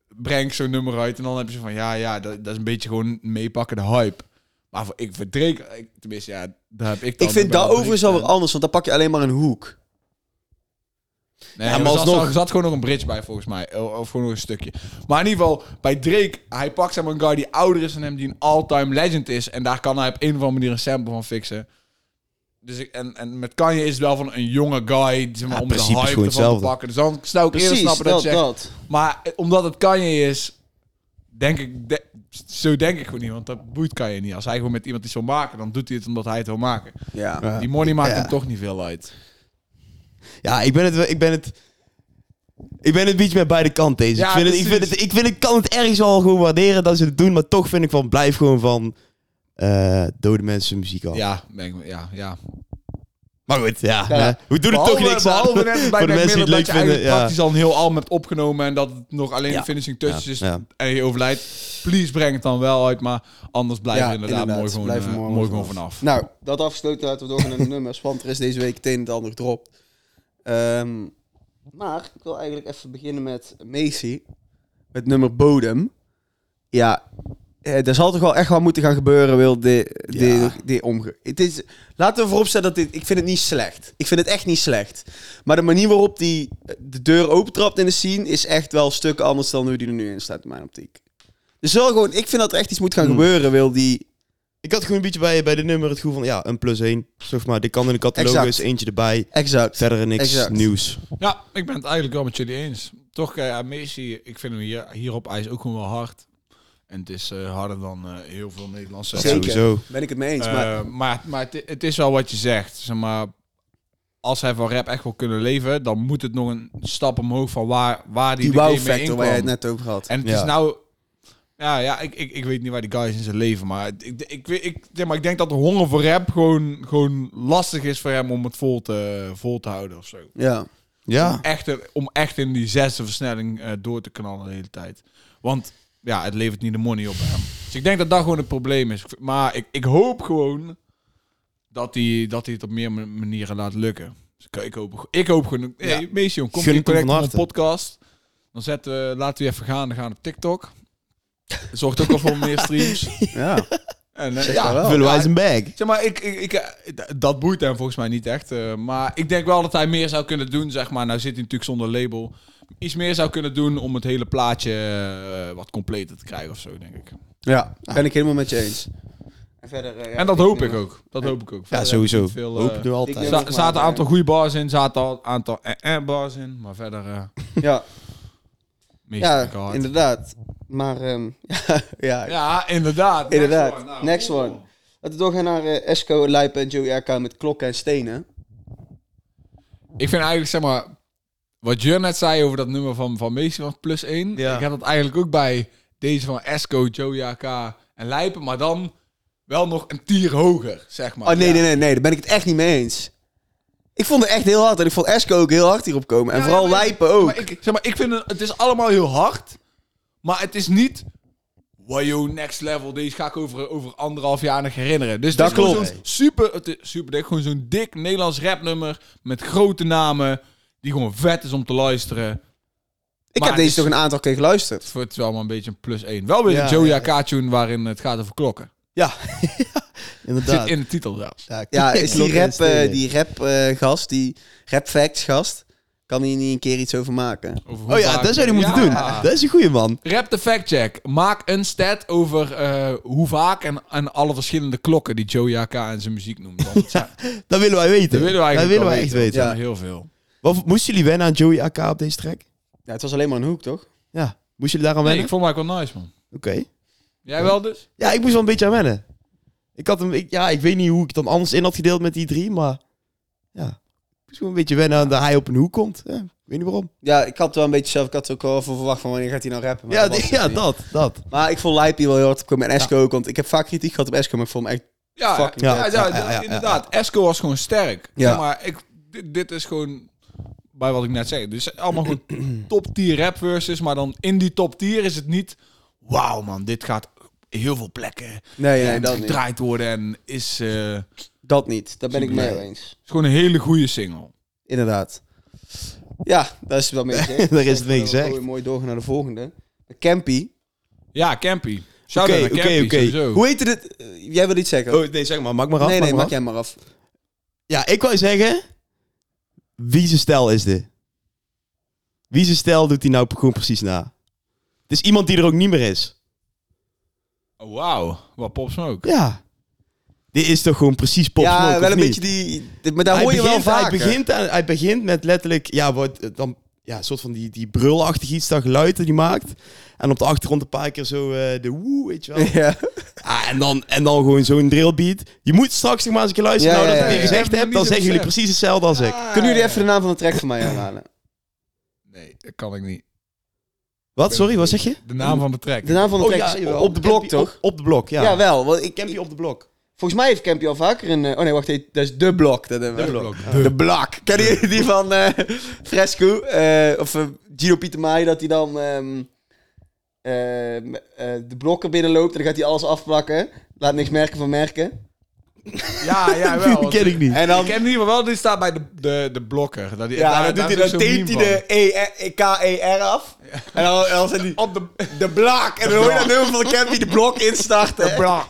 Speaker 1: breng ik zo'n nummer uit. En dan heb je zo van, ja, ja, dat, dat is een beetje gewoon meepakken de hype. Maar voor, ik verdreek, ik, tenminste, ja, daar heb ik dan
Speaker 2: ik vind
Speaker 1: bij
Speaker 2: dat
Speaker 1: Drake
Speaker 2: overigens wel
Speaker 1: dan.
Speaker 2: weer anders, want dan pak je alleen maar een hoek.
Speaker 1: Nee,
Speaker 3: Ja,
Speaker 1: er
Speaker 3: maar
Speaker 1: zat-
Speaker 3: alsnog-
Speaker 1: Er zat gewoon nog een bridge bij, volgens mij. O- Of gewoon nog een stukje. Maar in ieder geval, bij Drake, hij pakt zeg maar een guy die ouder is dan hem, die een all-time legend is. En daar kan hij op een of andere manier een sample van fixen. Dus ik, en, en met Kanye is het wel van een jonge guy, zeg maar,
Speaker 3: Ja,
Speaker 1: om de
Speaker 3: principe is
Speaker 1: hype
Speaker 3: gewoon
Speaker 1: ervan te
Speaker 3: hetzelfde.
Speaker 1: pakken. Dus dan zou ik eerder
Speaker 2: Precies,
Speaker 1: snappen
Speaker 2: dat,
Speaker 1: dat, je zegt...
Speaker 2: dat.
Speaker 1: Maar eh, omdat het Kanye is, denk ik, de- zo denk ik gewoon niet. Want dat boeit Kanye niet. Als hij gewoon met iemand iets wil maken, dan doet hij het omdat hij het wil maken.
Speaker 2: Ja.
Speaker 3: Ja.
Speaker 1: Die money maakt
Speaker 3: Ja.
Speaker 1: hem toch niet veel uit.
Speaker 3: ja, ik ben het... wel- Ik ben het ik ben het beetje met beide kanten eens.
Speaker 1: Ja,
Speaker 3: ik, vind het, ik, vind
Speaker 1: precies.
Speaker 3: het, ik, vind, ik kan het ergens al gewoon waarderen dat ze het doen. Maar toch vind ik van, blijf gewoon van eh, dode mensen muziek af.
Speaker 1: Ja, ben ik, ja, ja.
Speaker 3: Maar goed, ja.
Speaker 2: Ja.
Speaker 3: hè. we doen er
Speaker 1: Behalve-
Speaker 3: toch niks aan.
Speaker 1: Behalve net bij
Speaker 3: Voor de
Speaker 1: Mac
Speaker 3: mensen die het
Speaker 1: Miller dat
Speaker 3: leuk
Speaker 1: je eigenlijk
Speaker 3: vinden. Ja.
Speaker 1: praktisch al een heel album hebt opgenomen... en dat het nog alleen
Speaker 3: Ja.
Speaker 1: de finishing
Speaker 3: Ja,
Speaker 1: touches is
Speaker 3: ja.
Speaker 1: en je overlijdt. Please breng het dan wel uit, maar anders blijven
Speaker 2: Ja,
Speaker 1: we inderdaad,
Speaker 2: inderdaad.
Speaker 1: mooi gewoon,
Speaker 2: Blijven
Speaker 1: eh,
Speaker 2: mooi
Speaker 1: mooi
Speaker 2: vanaf.
Speaker 1: gewoon vanaf.
Speaker 2: Nou, dat afgesloten laten we doorgaan naar de nummers, want er is deze week het een en het ander gedropt. Ehm, maar ik wil eigenlijk even beginnen met Macy, het nummer Bodem. Ja, eh, er zal toch wel echt wat moeten gaan gebeuren, wil de, de,
Speaker 3: Ja.
Speaker 2: de omge... Het is, laten we vooropstellen dat dit... Ik vind het niet slecht. Ik vind het echt niet slecht. Maar de manier waarop die eh, de deur opentrapt in de scene is echt wel stukken anders dan hoe die er nu in staat, in mijn optiek. Dus wel gewoon, ik vind dat er echt iets moet gaan
Speaker 3: Hmm.
Speaker 2: gebeuren, wil die...
Speaker 3: Ik had gewoon een beetje bij, bij de nummer het gevoel van, ja, een plus één. Zeg maar, dit kan in de catalogus,
Speaker 2: Exact.
Speaker 3: eentje erbij.
Speaker 2: Exact.
Speaker 3: Verder niks
Speaker 2: Exact.
Speaker 3: nieuws.
Speaker 1: Ja, ik ben het eigenlijk wel met jullie eens. Toch, eh, ja, Messi, ik vind hem hier, hierop ijs ook gewoon wel hard. En het is eh, harder dan eh, heel veel Nederlandse.
Speaker 2: Zeker.
Speaker 3: Sowieso.
Speaker 2: Ben ik het mee eens,
Speaker 1: Eh,
Speaker 2: maar...
Speaker 1: maar maar, het, het is wel wat je zegt. Zeg maar, als hij van rap echt wil kunnen leven, dan moet het nog een stap omhoog van waar, waar die,
Speaker 2: Die
Speaker 1: de game mee
Speaker 2: wow-factor waar
Speaker 1: inkwam.
Speaker 2: jij het net over had.
Speaker 1: En het
Speaker 3: Ja.
Speaker 1: is nou... Ja, ja ik, ik, ik weet niet waar die guy is in zijn leven, maar ik, ik, weet- ik, zeg maar ik denk dat de honger voor rap gewoon, gewoon lastig is voor hem om het vol te, vol te houden of zo.
Speaker 2: Ja.
Speaker 3: Ja.
Speaker 1: Om, echt, er- om echt in die zesde versnelling eh, door te knallen de hele tijd. Want ja, het levert niet de money op hem. Dus ik denk dat dat gewoon het probleem is. Ik v- Maar ik, ik hoop gewoon dat hij, dat hij het op meer ma- manieren laat lukken. Dus ik, ik, hoop, ik hoop gewoon... Hey,
Speaker 3: Ja.
Speaker 1: Mees, jong, kom
Speaker 3: Gun
Speaker 1: in
Speaker 3: het hem
Speaker 1: connect
Speaker 3: van
Speaker 1: op een
Speaker 3: harte.
Speaker 1: podcast. Dan zetten we, laten we even gaan. Dan gaan we op TikTok. Zorgt ook al voor meer streams.
Speaker 2: Ja.
Speaker 1: En, eh,
Speaker 2: maar wel.
Speaker 1: ja,
Speaker 3: Vullen wij
Speaker 1: ja,
Speaker 3: zijn bag.
Speaker 1: Zeg maar, ik, ik, ik, eh, d- dat boeit hem volgens mij niet echt. eh, maar ik denk wel dat hij meer zou kunnen doen, zeg maar. Nou zit hij natuurlijk zonder label. Iets meer zou kunnen doen om het hele plaatje eh, wat completer te krijgen of zo, denk ik.
Speaker 2: ja. Ben ik helemaal met je eens. Ah. En, verder, eh, ja,
Speaker 1: En dat hoop ik ook. Dat
Speaker 2: Ja.
Speaker 1: hoop ik ook.
Speaker 3: Ja,
Speaker 1: Verder heb
Speaker 3: sowieso.
Speaker 1: ik niet veel, eh,
Speaker 3: Hoop doen we
Speaker 2: ik
Speaker 3: altijd.
Speaker 2: denk-
Speaker 1: za- zaten een aantal goede bars in, zaten al een aantal eh, eh, bars in. Maar verder, eh
Speaker 2: Ja,
Speaker 1: meestal
Speaker 2: ja
Speaker 1: lekker hard.
Speaker 2: inderdaad. Maar, ehm, ja, ja.
Speaker 1: Ja, inderdaad.
Speaker 2: Inderdaad.
Speaker 1: Next one. nou.
Speaker 2: Next one. Laten we doorgaan naar eh, Esco, Lijpen en Joey RK met klokken en stenen.
Speaker 1: Ik vind eigenlijk, zeg maar, wat Jur net zei over dat nummer van, van Messi van plus 1.
Speaker 3: Ja.
Speaker 1: Ik had dat eigenlijk ook bij deze van Esco, Joey AK en Lijpen, maar dan wel nog een tier hoger, zeg maar.
Speaker 2: Oh nee,
Speaker 1: Ja.
Speaker 2: nee, nee, nee, daar ben ik het echt niet mee eens. Ik vond het echt heel hard en ik vond Esco ook heel hard hierop komen. En
Speaker 1: Ja,
Speaker 2: vooral
Speaker 1: maar-
Speaker 2: Lijpen ook.
Speaker 1: Maar ik, zeg maar, ik vind het, het is allemaal heel hard, maar het is niet... Wajo, next level. Deze ga ik over, over anderhalf jaar nog herinneren. Dus
Speaker 2: Dat
Speaker 1: dat klopt.
Speaker 2: klopt.
Speaker 1: Zo'n super, het is super dik. Gewoon zo'n dik Nederlands rapnummer met grote namen. Die gewoon vet is om te luisteren.
Speaker 2: Ik
Speaker 1: maar
Speaker 2: heb
Speaker 1: het
Speaker 2: deze
Speaker 1: is-
Speaker 2: toch een aantal keer geluisterd.
Speaker 1: Het is wel maar een beetje een plus één. Wel weer
Speaker 3: Ja,
Speaker 1: een Joey
Speaker 3: ja,
Speaker 1: AK-tune waarin het gaat over klokken.
Speaker 3: Ja.
Speaker 1: Zit
Speaker 3: Inderdaad.
Speaker 1: in de titel zelfs.
Speaker 3: Ja,
Speaker 2: Ja, is die
Speaker 3: klokken en
Speaker 2: rap, eh,
Speaker 3: stenen.
Speaker 2: die rap eh, gast, die rap facts gast. Kan hij niet een keer iets over maken?
Speaker 1: Over hoe
Speaker 3: Oh ja,
Speaker 1: vaak-
Speaker 3: dat zou je moeten
Speaker 1: Ja.
Speaker 3: doen. Dat is een goede man.
Speaker 1: Rap de factcheck. Maak een stat over eh, hoe vaak en, en alle verschillende klokken die Joe Jaka en zijn muziek noemt. Want het zijn-
Speaker 3: Dat willen wij weten.
Speaker 1: Dat willen we eigenlijk
Speaker 3: dat willen
Speaker 1: wel
Speaker 3: wij echt weten.
Speaker 1: Ja. Heel veel.
Speaker 3: Wat, moesten jullie wennen aan Joey AK op deze track?
Speaker 2: Ja, het was alleen maar een hoek, toch?
Speaker 3: Ja. Moesten jullie daar aan
Speaker 1: Nee,
Speaker 3: wennen?
Speaker 1: ik vond het eigenlijk wel nice, man.
Speaker 3: Oké.
Speaker 1: Jij wel dus?
Speaker 3: Ja, ik moest wel een beetje aan wennen. Ik had hem, ik, ja, ik weet niet hoe ik het dan anders in had gedeeld met die drie, maar ja. Ik moest wel een beetje wennen aan dat hij op een hoek komt. Ja, ik weet niet waarom.
Speaker 2: Ja, ik had wel een beetje zelf, ik had ook wel voor verwacht van wanneer gaat hij nou rappen. Maar
Speaker 3: ja,
Speaker 2: dat was
Speaker 3: die-
Speaker 2: het
Speaker 3: ja
Speaker 2: niet.
Speaker 3: dat, dat.
Speaker 2: Maar ik vond Lijpie wel heel hard opkomen en Esco ook, want ik heb vaak kritiek gehad op Esco, maar ik vond hem echt...
Speaker 1: Ja,
Speaker 2: Fucking
Speaker 1: ja, ja,
Speaker 2: vet.
Speaker 3: Ja, ja, ja,
Speaker 1: inderdaad. Esco was gewoon sterk.
Speaker 2: Ja.
Speaker 1: Maar ik, dit, dit is gewoon, bij wat ik net zei, dit is allemaal gewoon top tier rap versus, maar dan in die top tier is het niet, wauw man, dit gaat heel veel plekken
Speaker 2: Nee, nee,
Speaker 1: en
Speaker 2: dat niet.
Speaker 1: gedraaid worden en is, eh, is
Speaker 2: Dat niet, daar ben ik mee eens.
Speaker 1: gewoon een hele goede single.
Speaker 2: Inderdaad. Ja, daar is het wel mee gezegd.
Speaker 3: Daar is het mee
Speaker 2: Dan gaan we
Speaker 3: gezegd.
Speaker 2: Mooi doorgaan naar de volgende. Campy.
Speaker 1: Ja, Campy. Shout-out
Speaker 3: Oké,
Speaker 1: naar Campy,
Speaker 3: oké, oké.
Speaker 1: sowieso.
Speaker 2: Hoe heette dit? Eh, Jij wil iets zeggen?
Speaker 3: Oh, nee, zeg maar, maak maar af.
Speaker 2: nee, nee,
Speaker 3: maar
Speaker 2: maak jij maar af.
Speaker 3: Ja, ik wou zeggen, wie zijn stijl is dit? Wie zijn stijl doet hij nou gewoon precies na? Het is iemand die er ook niet meer is.
Speaker 1: Oh, Wauw, wat Pop Smoke.
Speaker 3: Ja. Dit is toch gewoon precies pop
Speaker 2: ja,
Speaker 3: Smoke,
Speaker 2: wel
Speaker 3: of
Speaker 2: een
Speaker 3: niet?
Speaker 2: beetje die... die- Maar daar
Speaker 3: hij
Speaker 2: hoor je
Speaker 3: begint,
Speaker 2: wel vaak.
Speaker 3: Hij begint, aan- hij begint met letterlijk, ja, wat, eh, dan, ja, een soort van die, die brulachtig iets, dat geluid dat hij maakt. En op de achtergrond een paar keer zo eh, de woe, weet je
Speaker 1: Oh.
Speaker 3: wel.
Speaker 2: Ja.
Speaker 3: Ah, en, dan, en dan gewoon zo'n drillbeat. Je moet straks nog maar eens een keer luisteren.
Speaker 2: Ja,
Speaker 3: nou, dat
Speaker 2: ja,
Speaker 3: ik
Speaker 2: ja,
Speaker 3: het weer
Speaker 1: ja.
Speaker 3: gezegd
Speaker 1: Ja,
Speaker 3: heb, dan
Speaker 1: niet
Speaker 3: zeggen jullie
Speaker 1: gezegd.
Speaker 3: precies hetzelfde als ik.
Speaker 2: Kunnen jullie even de naam van de track van mij aanhalen?
Speaker 1: Nee, dat kan ik niet.
Speaker 3: Wat, sorry, wat zeg je?
Speaker 1: De naam van de track.
Speaker 2: De naam van de track is
Speaker 3: jawel.
Speaker 2: Op de Blok,
Speaker 1: oh.
Speaker 3: Campy op-
Speaker 2: toch?
Speaker 3: Op, de blok, ja.
Speaker 2: Ja, wel. Want ik,
Speaker 3: Campy op de blok.
Speaker 2: volgens mij heeft Campy al vaker een... eh, Oh nee, wacht even. Dat is De Blok. Dat hebben we.
Speaker 1: Blok.
Speaker 2: De Blok. Ken je die van eh, Fresco? eh, of eh, Gino Pietermaai, dat hij dan ehm, ehm, eh, de blokken binnenloopt en dan gaat hij alles afplakken. Laat niks merken van merken.
Speaker 1: Ja, ja, wel.
Speaker 3: Die ken ik niet.
Speaker 2: En dan...
Speaker 1: Ik ken in ieder geval wel, die staat bij de, de, de blokker. Dat die,
Speaker 2: Ja,
Speaker 1: daar-
Speaker 2: dan
Speaker 1: daar
Speaker 2: doet hij,
Speaker 1: is
Speaker 2: dan
Speaker 1: ook zo'n
Speaker 2: teemt hij
Speaker 1: meme
Speaker 2: de E E-K-E-R E af. En dan, dan zijn die... Op de, de blak. En dan hoor je dat nummer van de Campy de blok instarten. De blak.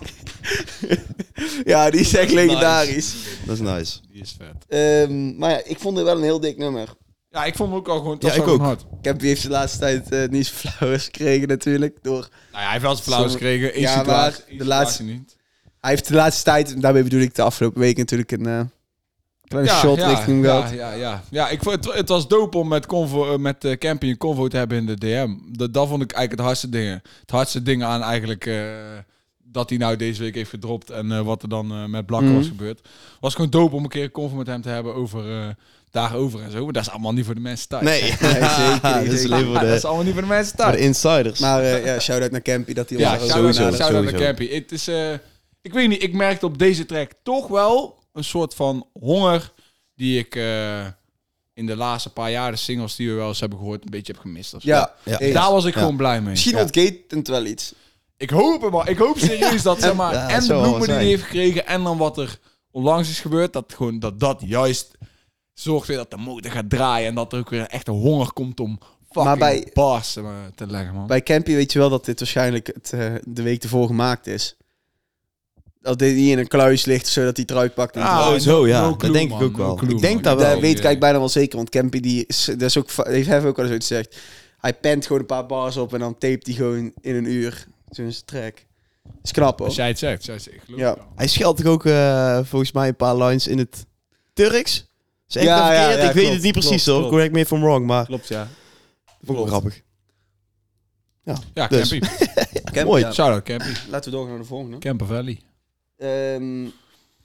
Speaker 2: ja, die is echt legendarisch.
Speaker 3: Dat is nice.
Speaker 1: van. Die is vet.
Speaker 2: Ehm, maar ja, ik vond het wel een heel dik nummer.
Speaker 1: Ja, ik vond hem ook al gewoon... het was
Speaker 3: Ja, ik
Speaker 1: gewoon
Speaker 3: ook.
Speaker 1: Hard.
Speaker 2: Campy heeft de laatste tijd eh, niet zoveel flowers gekregen natuurlijk. Door...
Speaker 1: Nou ja, hij heeft wel eens flauws
Speaker 2: Sommige-
Speaker 1: gekregen. Eén
Speaker 2: Ja,
Speaker 1: ja,
Speaker 2: maar
Speaker 1: maar
Speaker 2: de laatste-
Speaker 1: niet.
Speaker 2: Hij heeft de laatste tijd, en daarmee bedoel ik de afgelopen weken natuurlijk een eh, kleine shot richting
Speaker 1: ja,
Speaker 2: gehad.
Speaker 1: ja, ja. ja ik vond, het, het was dope om met, convo, eh, met eh, Campy een convo te hebben in de DM. Dat, dat vond ik eigenlijk het hardste ding. Het hardste ding aan eigenlijk... eh, dat hij nou deze week heeft gedropt en eh, wat er dan eh, met Blakker was
Speaker 2: Mhm.
Speaker 1: gebeurd. Was gewoon dope om een keer een convo met hem te hebben over eh, daarover en zo. Maar dat is allemaal niet voor de mensen thuis.
Speaker 3: Nee,
Speaker 2: zeker niet,
Speaker 3: Dat is
Speaker 2: zeker
Speaker 3: alleen voor
Speaker 1: Ah, dat
Speaker 3: de,
Speaker 1: is allemaal niet voor de mensen
Speaker 3: voor
Speaker 1: thuis.
Speaker 3: de insiders.
Speaker 2: Maar eh, ja, shout-out naar Campy dat hij ons
Speaker 1: Ja,
Speaker 2: daar ook
Speaker 1: shout-out
Speaker 3: sowieso,
Speaker 1: naar- shout-out naar
Speaker 3: sowieso.
Speaker 1: Campy. Het is, eh, ik weet niet, ik merkte op deze track toch wel een soort van honger die ik eh, in de laatste paar jaren singles die we wel eens hebben gehoord een beetje heb gemist. of zo. Dus
Speaker 2: Ja,
Speaker 3: Ja.
Speaker 2: eens.
Speaker 1: Daar was ik
Speaker 3: Ja.
Speaker 1: gewoon blij mee.
Speaker 2: Misschien
Speaker 3: Ja.
Speaker 2: ontgeet het wel iets.
Speaker 1: Ik hoop hem, maar ik hoop serieus dat zeg maar,
Speaker 3: Ja, dat
Speaker 1: en de
Speaker 3: zou wel
Speaker 1: bloemen die
Speaker 3: zijn.
Speaker 1: hij heeft gekregen en dan wat er onlangs is gebeurd, dat gewoon dat dat juist zorgt weer dat de motor gaat draaien en dat er ook weer een echte honger komt om fucking
Speaker 2: Maar
Speaker 1: maar
Speaker 2: bij-
Speaker 1: bars eh, te leggen man.
Speaker 2: Bij Campy weet je wel dat dit waarschijnlijk het, eh, de week ervoor gemaakt is. Dat dit niet in een kluis ligt, zodat hij het eruit pakt. En het
Speaker 1: Ah,
Speaker 3: Oh, zo, ja.
Speaker 1: no
Speaker 3: Dat
Speaker 1: clue,
Speaker 3: denk ik
Speaker 1: man.
Speaker 3: ook
Speaker 1: No
Speaker 3: wel.
Speaker 1: clue,
Speaker 3: Ik denk
Speaker 1: man.
Speaker 3: dat
Speaker 1: Ik
Speaker 3: wel.
Speaker 2: Dat weet ik
Speaker 1: eh,
Speaker 2: eigenlijk bijna wel zeker, want Campy die is, dat is ook, va- heeft hij ook wel eens ooit gezegd. Hij pent gewoon een paar bars op en dan tapet hij gewoon in een uur zo'n track. Dat is knap hoor.
Speaker 1: Als jij het zegt, zij zegt, ik geloof
Speaker 2: Ja.
Speaker 1: het wel.
Speaker 3: Hij scheldt toch ook eh, volgens mij een paar lines in het Turks? Zeg ik
Speaker 2: Ja,
Speaker 3: dat
Speaker 2: ja,
Speaker 3: verkeerd?
Speaker 2: ja,
Speaker 3: ik weet
Speaker 2: klopt,
Speaker 3: het niet precies
Speaker 2: klopt,
Speaker 3: hoor.
Speaker 2: klopt.
Speaker 3: Correct me if I'm wrong, maar
Speaker 2: Klopt, ja.
Speaker 3: vond ik wel
Speaker 1: Klopt.
Speaker 3: grappig.
Speaker 1: Ja,
Speaker 3: Dus.
Speaker 1: Campy.
Speaker 2: Campy,
Speaker 3: Mooi.
Speaker 2: ja.
Speaker 1: Shout-out Campy.
Speaker 2: Laten we doorgaan naar de volgende.
Speaker 1: Camper Valley.
Speaker 2: Ehm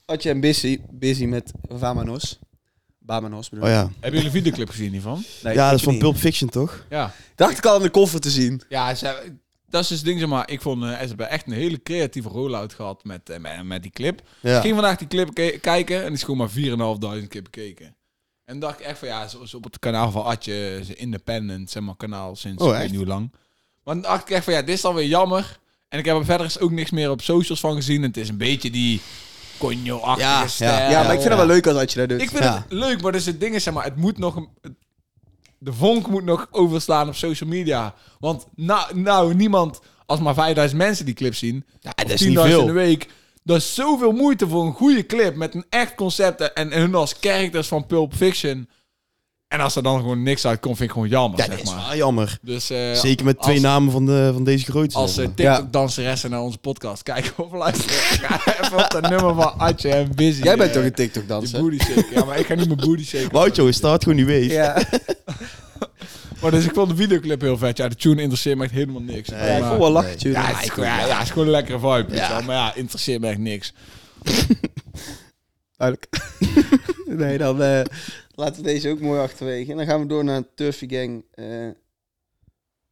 Speaker 2: had je een busy, busy met Vamanos. Bamanos bedoel
Speaker 3: Oh
Speaker 2: ik.
Speaker 3: ja.
Speaker 1: Hebben jullie een videoclip gezien hiervan?
Speaker 2: Nee,
Speaker 3: Ja, dat is
Speaker 2: ik
Speaker 3: van
Speaker 2: niet.
Speaker 3: Pulp Fiction toch?
Speaker 1: Ja.
Speaker 2: Dacht ik al aan de koffer te zien.
Speaker 1: Ja, ze, dat is dus het ding, zeg maar. Ik vond eh, ze hebben echt een hele creatieve rollout gehad met, eh, met, met die clip. Ik
Speaker 3: Ja.
Speaker 1: ging vandaag die clip ke- kijken en die is gewoon maar 4.500 keer bekeken. En dacht ik echt van, ja, ze is op het kanaal van Atje, ze independent, zeg maar, kanaal sinds
Speaker 3: Oh,
Speaker 1: ik weet
Speaker 3: echt?
Speaker 1: niet hoe lang. Maar dan dacht ik echt van, ja, dit is dan weer jammer. En ik heb er verder ook niks meer op socials van gezien. En het is een beetje die conjo-achtige
Speaker 3: Ja, ja.
Speaker 1: stijl.
Speaker 2: Ja, maar ik vind
Speaker 3: ja.
Speaker 2: het wel leuk als dat je dat doet.
Speaker 1: Ik vind
Speaker 3: Ja.
Speaker 1: het leuk, maar dus het ding is, zeg maar, het moet nog... een- het- De vonk moet nog overslaan op social media. Want nou, nou niemand, als maar 5000 mensen die clip zien... Ja,
Speaker 3: dat is niet veel.
Speaker 1: in de week. Dat is zoveel moeite voor een goede clip met een echt concept. En, en hun als characters van Pulp Fiction. En als er dan gewoon niks uitkomt, vind ik gewoon jammer,
Speaker 3: Ja, dat
Speaker 1: zeg
Speaker 3: is
Speaker 1: maar.
Speaker 3: wel jammer.
Speaker 1: Dus, eh,
Speaker 3: Zeker met twee
Speaker 1: als-
Speaker 3: namen van, de, van deze grootste.
Speaker 1: Als eh,
Speaker 3: zeg maar.
Speaker 1: TikTok-danseressen naar onze podcast kijken of luisteren, ga even op dat nummer van Atje en Busy.
Speaker 2: Jij bent
Speaker 1: eh,
Speaker 2: toch een
Speaker 1: Die
Speaker 2: TikTok-danser?
Speaker 1: booty shake. Ja, maar ik ga niet mijn booty shake.
Speaker 3: Wout, jongen, staat gewoon niet wees.
Speaker 2: Ja,
Speaker 1: Maar dus ik vond de videoclip heel vet. Ja, de tune interesseert me echt helemaal niks.
Speaker 3: Nee.
Speaker 2: ja, ik
Speaker 1: maar,
Speaker 2: voel wel lachen,
Speaker 1: ja,
Speaker 2: tuurlijk.
Speaker 1: het is gewoon- ja, ja, het is gewoon een lekkere vibe. weet je
Speaker 3: Ja.
Speaker 1: wel. Maar ja, interesseert me echt niks.
Speaker 2: Duidelijk. nee, dan eh, laten we deze ook mooi achterwege. En dan gaan we door naar Turfy Gang. eh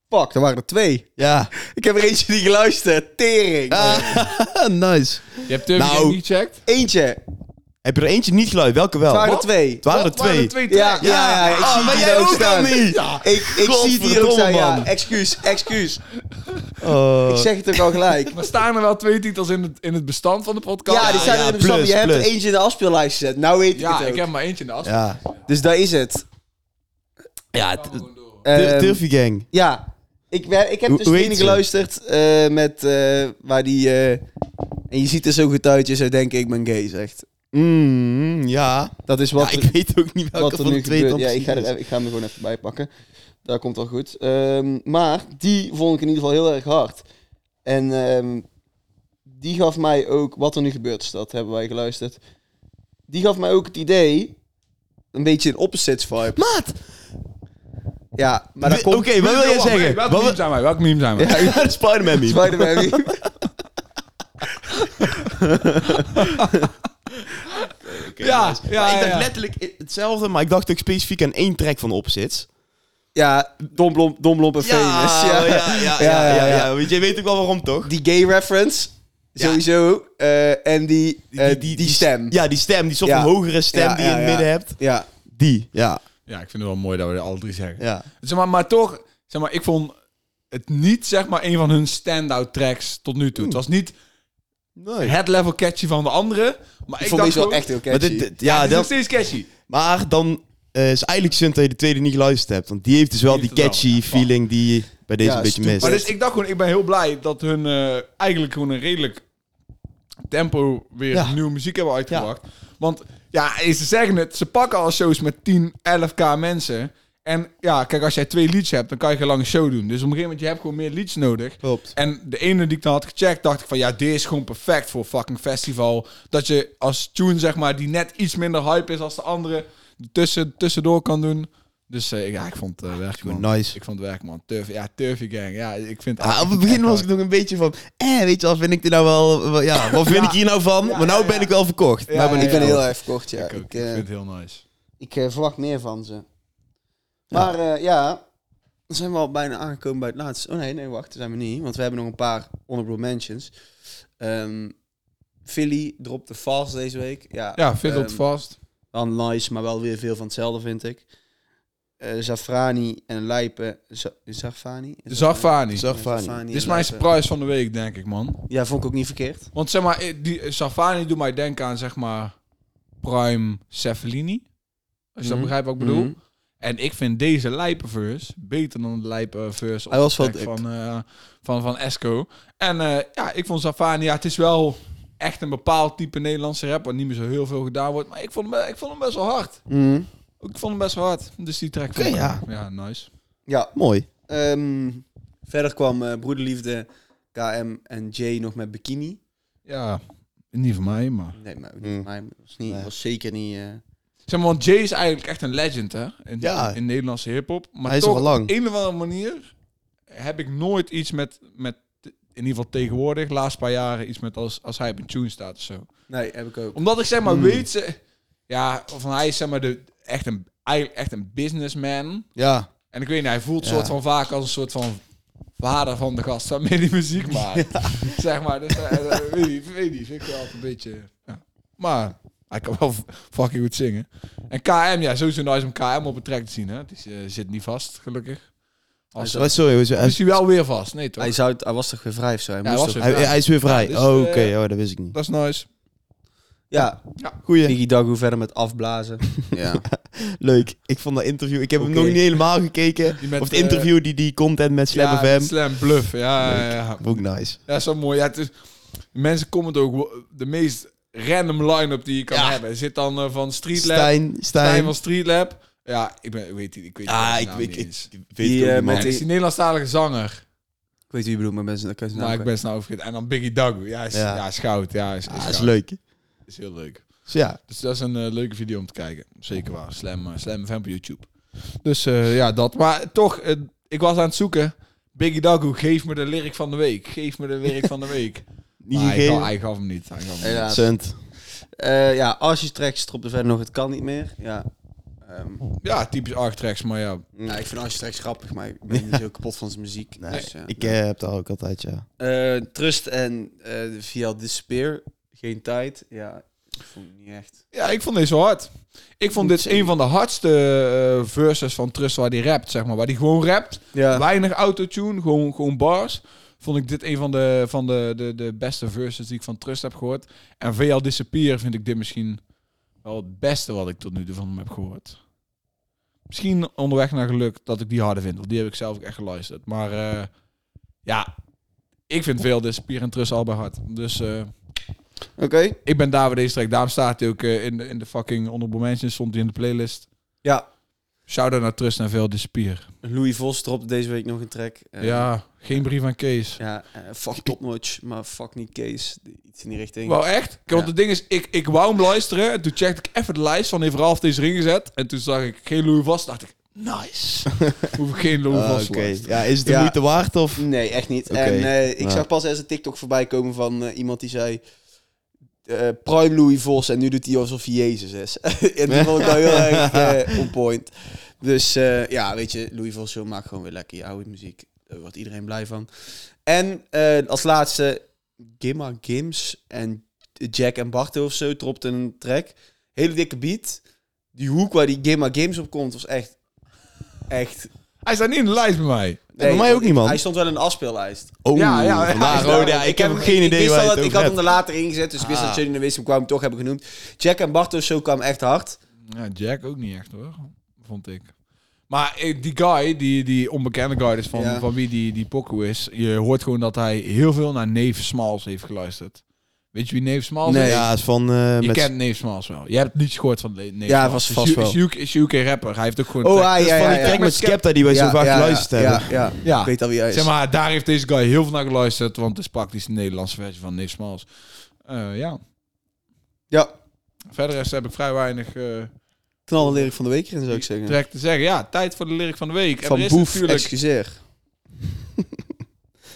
Speaker 2: fuck, er waren er twee. Ah.
Speaker 3: Ja.
Speaker 2: Ik heb er eentje niet geluisterd. Tering.
Speaker 3: nice.
Speaker 1: Je hebt Turbo
Speaker 3: Nou.
Speaker 1: Gang niet gecheckt?
Speaker 2: Eentje. Het
Speaker 3: Heb je er eentje niet geluid? Welke wel?
Speaker 2: waren er
Speaker 1: Wat?
Speaker 2: twee.
Speaker 3: Het waren er
Speaker 1: Wat
Speaker 3: twee.
Speaker 1: waren
Speaker 2: Ja, ja,
Speaker 1: tracks?
Speaker 2: ja. Ik
Speaker 3: Ah,
Speaker 2: zie
Speaker 3: maar
Speaker 2: die
Speaker 3: jij
Speaker 2: er ook
Speaker 3: ook
Speaker 2: staan.
Speaker 3: dan niet?
Speaker 1: Ja.
Speaker 2: Ik, ik zie die ook
Speaker 3: Godverdomme,
Speaker 2: staan. Ja,
Speaker 3: man.
Speaker 2: excuus, excuus.
Speaker 3: Oh.
Speaker 2: Ik zeg het ook al gelijk.
Speaker 1: Maar staan er wel twee titels in het, in het bestand van de podcast?
Speaker 2: Ja, die staan
Speaker 3: ja,
Speaker 2: er in de bestand.
Speaker 3: plus,
Speaker 2: Je hebt er
Speaker 3: plus.
Speaker 2: eentje in de afspeellijst gezet. Nou weet ik
Speaker 1: Ja,
Speaker 2: het ook.
Speaker 1: ik heb maar eentje in de afstand.
Speaker 3: Ja.
Speaker 2: Dus daar is het.
Speaker 3: Ja,
Speaker 1: Gaan we gewoon door.
Speaker 3: Tur-
Speaker 2: Ehm,
Speaker 3: Turfy Gang.
Speaker 2: Ja, ik, wer- ik heb
Speaker 3: Hoe-
Speaker 2: dus
Speaker 3: hoe
Speaker 2: dingen
Speaker 3: heet ze?
Speaker 2: geluisterd eh, met eh, waar die. eh, en je ziet er zo goed uit, je zou denken: ik ben gay, zegt.
Speaker 3: Mm, ja.
Speaker 2: Dat is
Speaker 3: ja.
Speaker 2: wat,
Speaker 3: Ik
Speaker 2: er,
Speaker 3: weet ook niet welke
Speaker 2: wat er
Speaker 3: van de
Speaker 2: nu
Speaker 3: twee
Speaker 2: gebeurt.
Speaker 3: dan
Speaker 2: Ja, ik ga, er,
Speaker 3: precies is.
Speaker 2: even- ik ga hem er gewoon even bij pakken. Dat komt wel goed. Ehm, maar die vond ik in ieder geval heel erg hard. En ehm, die gaf mij ook. Wat er nu gebeurt, is dat hebben wij geluisterd. Die gaf mij ook het idee. Een beetje een opposites vibe.
Speaker 3: Maat!
Speaker 2: Ja, maar dat
Speaker 3: Wi-
Speaker 2: komt.
Speaker 3: Oké, wat wil jij
Speaker 1: Johan,
Speaker 3: zeggen?
Speaker 1: Welk
Speaker 3: Wat
Speaker 1: meme
Speaker 3: wil-
Speaker 1: zijn wij? Welk meme zijn wij?
Speaker 3: Ja, de Spider-Man meme.
Speaker 2: Spider-Man.
Speaker 1: Ja, ja,
Speaker 3: Maar ik dacht
Speaker 1: ja.
Speaker 3: letterlijk hetzelfde, maar ik dacht ook specifiek aan één track van opzits.
Speaker 2: Ja, Domblom, Domblom en Famous. Ja.
Speaker 3: oh, ja, ja, ja, ja, ja. Want jij weet ook wel waarom, toch?
Speaker 2: Die gay reference,
Speaker 3: Ja.
Speaker 2: sowieso. eh, en die, eh, die, stem.
Speaker 3: Ja, die stem. Die soort
Speaker 2: Ja.
Speaker 3: van hogere stem
Speaker 2: Ja,
Speaker 3: die
Speaker 2: ja,
Speaker 3: je in het
Speaker 2: ja.
Speaker 3: midden hebt.
Speaker 2: Ja.
Speaker 3: Die, ja.
Speaker 1: Ja, ik vind het wel mooi dat we er alle drie zeggen.
Speaker 3: ja.
Speaker 1: Zeg maar, maar toch, zeg maar, ik vond het niet zeg maar een van hun standout tracks tot nu toe. Het was niet
Speaker 3: Nee.
Speaker 1: het level catchy van de andere, maar ik, dacht
Speaker 2: Ik vond deze wel
Speaker 1: gewoon-
Speaker 2: echt Ah, heel
Speaker 3: Maar,
Speaker 2: catchy.
Speaker 3: dit, dit- ja,
Speaker 1: Het is nog
Speaker 3: dat,
Speaker 1: steeds catchy.
Speaker 3: maar dan eh, is eigenlijk zin dat je de tweede niet geluisterd hebt. Want die heeft dus wel
Speaker 1: Die
Speaker 3: die
Speaker 1: heeft het
Speaker 3: catchy
Speaker 1: wel, ja.
Speaker 3: feeling die je bij deze
Speaker 2: Ja,
Speaker 3: een beetje
Speaker 2: stoer.
Speaker 3: mist.
Speaker 1: Maar dus ik dacht gewoon, ik ben heel blij dat hun eh, eigenlijk gewoon een redelijk tempo weer
Speaker 3: Ja.
Speaker 1: nieuwe muziek hebben uitgebracht. Want ja, ze zeggen het, ze pakken al shows met 10, 11k mensen. En ja, kijk, als jij twee leads hebt, dan kan je geen lange show doen. Dus op een gegeven moment, je hebt gewoon meer leads nodig.
Speaker 3: Klopt.
Speaker 1: En de ene die ik dan had gecheckt, dacht ik van ja, dit is gewoon perfect voor fucking festival. Dat je als tune, zeg maar, die net iets minder hype is als de andere, tussen, tussendoor kan doen. Dus eh, ja, ik vond het eh, werk, man.
Speaker 3: Nice.
Speaker 1: Ik vond het werk, man. Turf, ja, Turfy Gang. Ja, ik vind
Speaker 3: Ah, op het begin was ik nog een beetje van, eh, weet je wel, vind ik dit nou wel, wel- ja, wat vind
Speaker 1: Ja.
Speaker 3: ik hier nou van?
Speaker 1: Ja,
Speaker 3: maar nou
Speaker 1: ja, ja.
Speaker 3: ben ik wel verkocht.
Speaker 1: Ja,
Speaker 3: nou ben
Speaker 2: ik
Speaker 3: ik
Speaker 2: ben
Speaker 1: ja.
Speaker 2: heel erg verkocht, ja.
Speaker 1: Ik,
Speaker 2: Ik,
Speaker 1: ook. ik
Speaker 2: eh,
Speaker 1: vind het heel nice.
Speaker 2: ik, eh, verwacht meer van ze. Maar eh, ja, dan zijn we al bijna aangekomen bij het laatste. Oh nee, nee, wacht, dat zijn we niet. Want we hebben nog een paar honorable mentions. Ehm Philly dropte vals deze week. Ja,
Speaker 3: Ah,
Speaker 1: Ja, vind
Speaker 2: ehm,
Speaker 1: het vast.
Speaker 2: Wel nice, maar wel weer veel van hetzelfde, vind ik. Eh, Zafrani en Lijpen. Za- Zafrani?
Speaker 1: Zafani.
Speaker 3: Zaf- Zafrani.
Speaker 1: Dit is
Speaker 2: en
Speaker 1: mijn
Speaker 2: Lijpen.
Speaker 1: surprise van de week, denk ik, man.
Speaker 2: Ja, vond ik ook niet verkeerd.
Speaker 1: Want zeg maar, eh, die eh, Safani doet mij denken aan, zeg maar, Prime Cefalini. Als je dat
Speaker 2: Mhm.
Speaker 1: begrijpt wat ik bedoel.
Speaker 2: Mhm.
Speaker 1: En ik vind deze lijpenverse beter dan de lijpenverse op
Speaker 2: Hij was
Speaker 1: de
Speaker 2: wel
Speaker 1: track van, eh, van, van Esco. En eh, ja, ik vond Safani, ja, het is wel echt een bepaald type Nederlandse rap, wat niet meer zo heel veel gedaan wordt. Maar ik vond hem, ik vond hem best wel hard.
Speaker 2: Mhm.
Speaker 3: Mm,
Speaker 1: Ik vond hem best wel hard. Dus die track
Speaker 3: Oké,
Speaker 1: vond ik-
Speaker 3: ja.
Speaker 1: ja, nice.
Speaker 2: Ja,
Speaker 3: Mooi.
Speaker 2: ehm, verder kwam eh, Broederliefde, KM en Jay nog met Bikini.
Speaker 1: Ja, niet van mij, maar...
Speaker 2: Nee, maar ook
Speaker 3: Mm.
Speaker 2: niet, maar was, niet,
Speaker 3: Nee.
Speaker 2: was zeker niet... eh,
Speaker 1: Zeg maar, want Jay is eigenlijk echt een legend, hè? In,
Speaker 3: Ja.
Speaker 1: in Nederlandse hip-hop. Maar
Speaker 3: Hij is
Speaker 1: toch,
Speaker 3: er al lang.
Speaker 1: op een of andere manier heb ik nooit iets met, met in ieder geval tegenwoordig, laatst paar jaren, iets met als, als hij op een tune staat of zo.
Speaker 2: nee, heb ik ook.
Speaker 1: Omdat ik zeg
Speaker 3: Hmm.
Speaker 1: maar weet, ze, ja, van hij is zeg maar de, echt, een, eigenlijk echt een businessman.
Speaker 3: Ja.
Speaker 1: En ik weet niet, hij voelt
Speaker 3: Ja.
Speaker 1: soort van vaak als een soort van vader van de gast waarmee die muziek maakt. Zeg maar, dus eh, eh, weet niet, weet niet, vind ik wel een beetje... Ja. Maar hij kan wel f- fucking goed zingen. En KM, ja, sowieso nice om KM op een track te zien, hè. Het is, eh, zit niet vast, gelukkig. Als,
Speaker 3: Oh, sorry, hoe is- hij,
Speaker 1: is hij wel weer vast, nee toch?
Speaker 2: Hij, zou, hij was toch weer vrij of zo? Hij
Speaker 1: Ja,
Speaker 2: moest
Speaker 1: hij was
Speaker 2: toch-
Speaker 1: weer-
Speaker 3: hij- hij is weer vrij.
Speaker 1: Ja, dus,
Speaker 3: oh, oké,
Speaker 1: eh,
Speaker 3: oh, dat wist ik niet.
Speaker 1: Dat is nice.
Speaker 2: ja,
Speaker 3: Goeie.
Speaker 2: Iggy Dagoe verder met afblazen. ja.
Speaker 3: Leuk. Ik vond dat interview. Ik heb hem
Speaker 2: Oké.
Speaker 3: nog niet helemaal gekeken.
Speaker 1: Die met, eh,
Speaker 3: of het interview die die content met Slam
Speaker 1: ja,
Speaker 3: FM.
Speaker 1: Slam Bluff, ja, ja,
Speaker 3: Leuk.
Speaker 1: ja.
Speaker 3: Ook nice.
Speaker 1: Ja, zo mooi. Ja, het is, mensen komen het ook wel- de meest random line-up die je kan
Speaker 3: Ja.
Speaker 1: hebben. Er zit dan eh, van Street Lab,
Speaker 3: Stijn, Stijn.
Speaker 1: Stijn van Street Lab, Ja, ik, ben, ik weet niet. Ik weet
Speaker 3: Ah,
Speaker 1: zijn
Speaker 3: ik,
Speaker 1: naam
Speaker 3: ik,
Speaker 1: Nou, niet
Speaker 3: ik,
Speaker 1: eens.
Speaker 3: ik weet
Speaker 2: Die,
Speaker 3: het ook
Speaker 2: eh,
Speaker 3: niet, man.
Speaker 1: Ja, het is die Nederlandstalige zanger.
Speaker 2: Ik weet wie je bedoelt, maar mensen, dat kan je
Speaker 1: Maar ik ben zijn naam vergeten. En dan Biggie Dagu. Ja, is,
Speaker 3: nou Ja.
Speaker 1: ja. is goud. Ja, is, is,
Speaker 3: Ah, dat is
Speaker 1: goud.
Speaker 3: leuk.
Speaker 1: Is heel leuk.
Speaker 3: Dus ja,
Speaker 1: Dus dat is een eh, leuke video om te kijken. Zeker waar. Slam, eh, slam fan op YouTube. Dus eh, ja, dat. Maar toch, eh, ik was aan het zoeken. Biggie Dagu, geef me de lyric van de week. Geef me de lyric van de week.
Speaker 3: niet
Speaker 1: Maar hij, gaf,
Speaker 3: gegeven.
Speaker 1: hij gaf hem niet. Hij gaf hem niet.
Speaker 2: Helaas.
Speaker 3: Cent.
Speaker 2: Eh, ja, als je trekt, strop er verder nog, het kan niet meer. Ja. Ehm,
Speaker 1: Ja, typisch Arctrax, maar ja.
Speaker 2: nou, ik vind als je trekt grappig, maar ik ben niet heel kapot van zijn muziek.
Speaker 3: Nee,
Speaker 2: dus, ja.
Speaker 3: Ik eh, heb dat ook altijd, ja.
Speaker 2: Eh, Trust en eh, via Despair, geen tijd. Ja, ik vond het niet echt.
Speaker 1: Ja, ik vond deze wel hard. Ik vond dit is een van de hardste eh, verses van Trust waar hij rapt, zeg maar. Waar hij gewoon rapt.
Speaker 2: Ja.
Speaker 1: Weinig autotune, gewoon, gewoon bars. Vond ik dit een van, de, van de, de, de beste verses die ik van Trust heb gehoord. En VL Disappear vind ik dit misschien wel het beste wat ik tot nu toe van hem heb gehoord. Misschien onderweg naar geluk dat ik die harder vind. Want die heb ik zelf ook echt geluisterd. Maar eh, ja, ik vind VL Disappear en Trust allebei hard. Dus... eh,
Speaker 2: Oké.
Speaker 1: ik ben daar bij deze track. Daarom staat hij ook eh, in, de- in de fucking honorable mentions. Stond hij in de playlist.
Speaker 2: Ja,
Speaker 1: Shout-out naar Trust en Veel de Spier.
Speaker 2: Louis Vos dropte deze week nog een track. Eh,
Speaker 1: ja, geen brief aan Kees.
Speaker 2: Ja, eh, fuck topnotch, maar fuck niet Kees. Iets in die richting.
Speaker 1: Wel echt? Kijk, Want
Speaker 2: Ja.
Speaker 1: het ding is, ik, ik wou hem luisteren. En toen checkte ik even de lijst van heeft Ralf deze ring gezet. En toen zag ik geen Louis Vast. dacht ik, nice. Hoef ik geen Louis
Speaker 3: Ah,
Speaker 1: Vast
Speaker 3: Oké.
Speaker 1: te luisteren.
Speaker 3: Ja, is het de
Speaker 2: Ja.
Speaker 3: moeite waard of...
Speaker 2: Nee, echt niet.
Speaker 3: Oké.
Speaker 2: En eh, ik
Speaker 3: Ja.
Speaker 2: zag pas eens een TikTok voorbij komen van eh, iemand die zei... eh, Prime Louis Vos en nu doet hij alsof hij Jezus is. en die vond ik wel heel erg eh, on point. Dus eh, ja, weet je, Louis Vos joh, maakt gewoon weer lekker je oude muziek. Daar wordt iedereen blij van. En eh, als laatste, Gimma Gims en Jack en Bartel of zo dropt een track. Hele dikke beat. Die hoek waar die Gimma Gims op komt was echt... Echt...
Speaker 1: Hij staat niet in de lijst bij mij.
Speaker 3: bij mij ook niet, man.
Speaker 2: Hij stond wel in een afspeellijst.
Speaker 3: Oh,
Speaker 1: Ja, ja, ja.
Speaker 3: vandaar.
Speaker 1: Is
Speaker 3: Oh,
Speaker 1: daar-
Speaker 3: ja, ik heb ook geen
Speaker 2: ik
Speaker 3: idee
Speaker 2: wist
Speaker 3: waar je
Speaker 2: al
Speaker 3: het
Speaker 2: dat- Ik
Speaker 3: over
Speaker 2: had hem
Speaker 3: hebt.
Speaker 2: er later ingezet, dus ik wist
Speaker 3: Ah.
Speaker 2: dat jullie hem wisten, maar ik wou hem toch hebben genoemd. Jack en Bart of zo kwamen echt hard.
Speaker 1: Ja, Jack ook niet echt hoor, vond ik. Maar eh, die guy, die, die onbekende guy dus van,
Speaker 2: Ja.
Speaker 1: van wie die, die pokoe is, je hoort gewoon dat hij heel veel naar Neef Smalls heeft geluisterd. Weet je wie Neef Smalls
Speaker 2: Nee.
Speaker 1: is?
Speaker 3: Ja, is van... eh
Speaker 1: Je
Speaker 3: met...
Speaker 1: kent Neef Smalls wel. Je hebt het niet gehoord van Neef
Speaker 2: Ja,
Speaker 1: Smalls.
Speaker 2: vast-
Speaker 1: Is
Speaker 2: vast
Speaker 1: U-
Speaker 2: wel.
Speaker 1: Is UK, is UK rapper. Hij heeft ook gewoon... dus een
Speaker 2: Oh,
Speaker 1: track.
Speaker 2: ah,
Speaker 3: Dat is
Speaker 2: ja,
Speaker 3: van
Speaker 2: ja,
Speaker 3: die
Speaker 2: ja.
Speaker 3: track met Skepta die wij zo
Speaker 2: Ja,
Speaker 3: vaak
Speaker 2: ja,
Speaker 3: geluisterd
Speaker 2: ja,
Speaker 3: hebben.
Speaker 2: Ja, ja.
Speaker 1: Ja.
Speaker 2: ik weet al wie hij is.
Speaker 1: Zeg maar, daar heeft deze guy heel veel naar geluisterd, want het is praktisch de Nederlandse versie van Neef Smalls. Eh, ja.
Speaker 2: Ja,
Speaker 1: Verder is- heb ik vrij weinig eh
Speaker 2: knallen leer ik van de week erin, zou ik zeggen.
Speaker 1: trek te zeggen. Ja, tijd voor de lyric van de week. En
Speaker 2: Van
Speaker 1: er is
Speaker 2: Boef,
Speaker 1: natuurlijk-
Speaker 2: excuseer.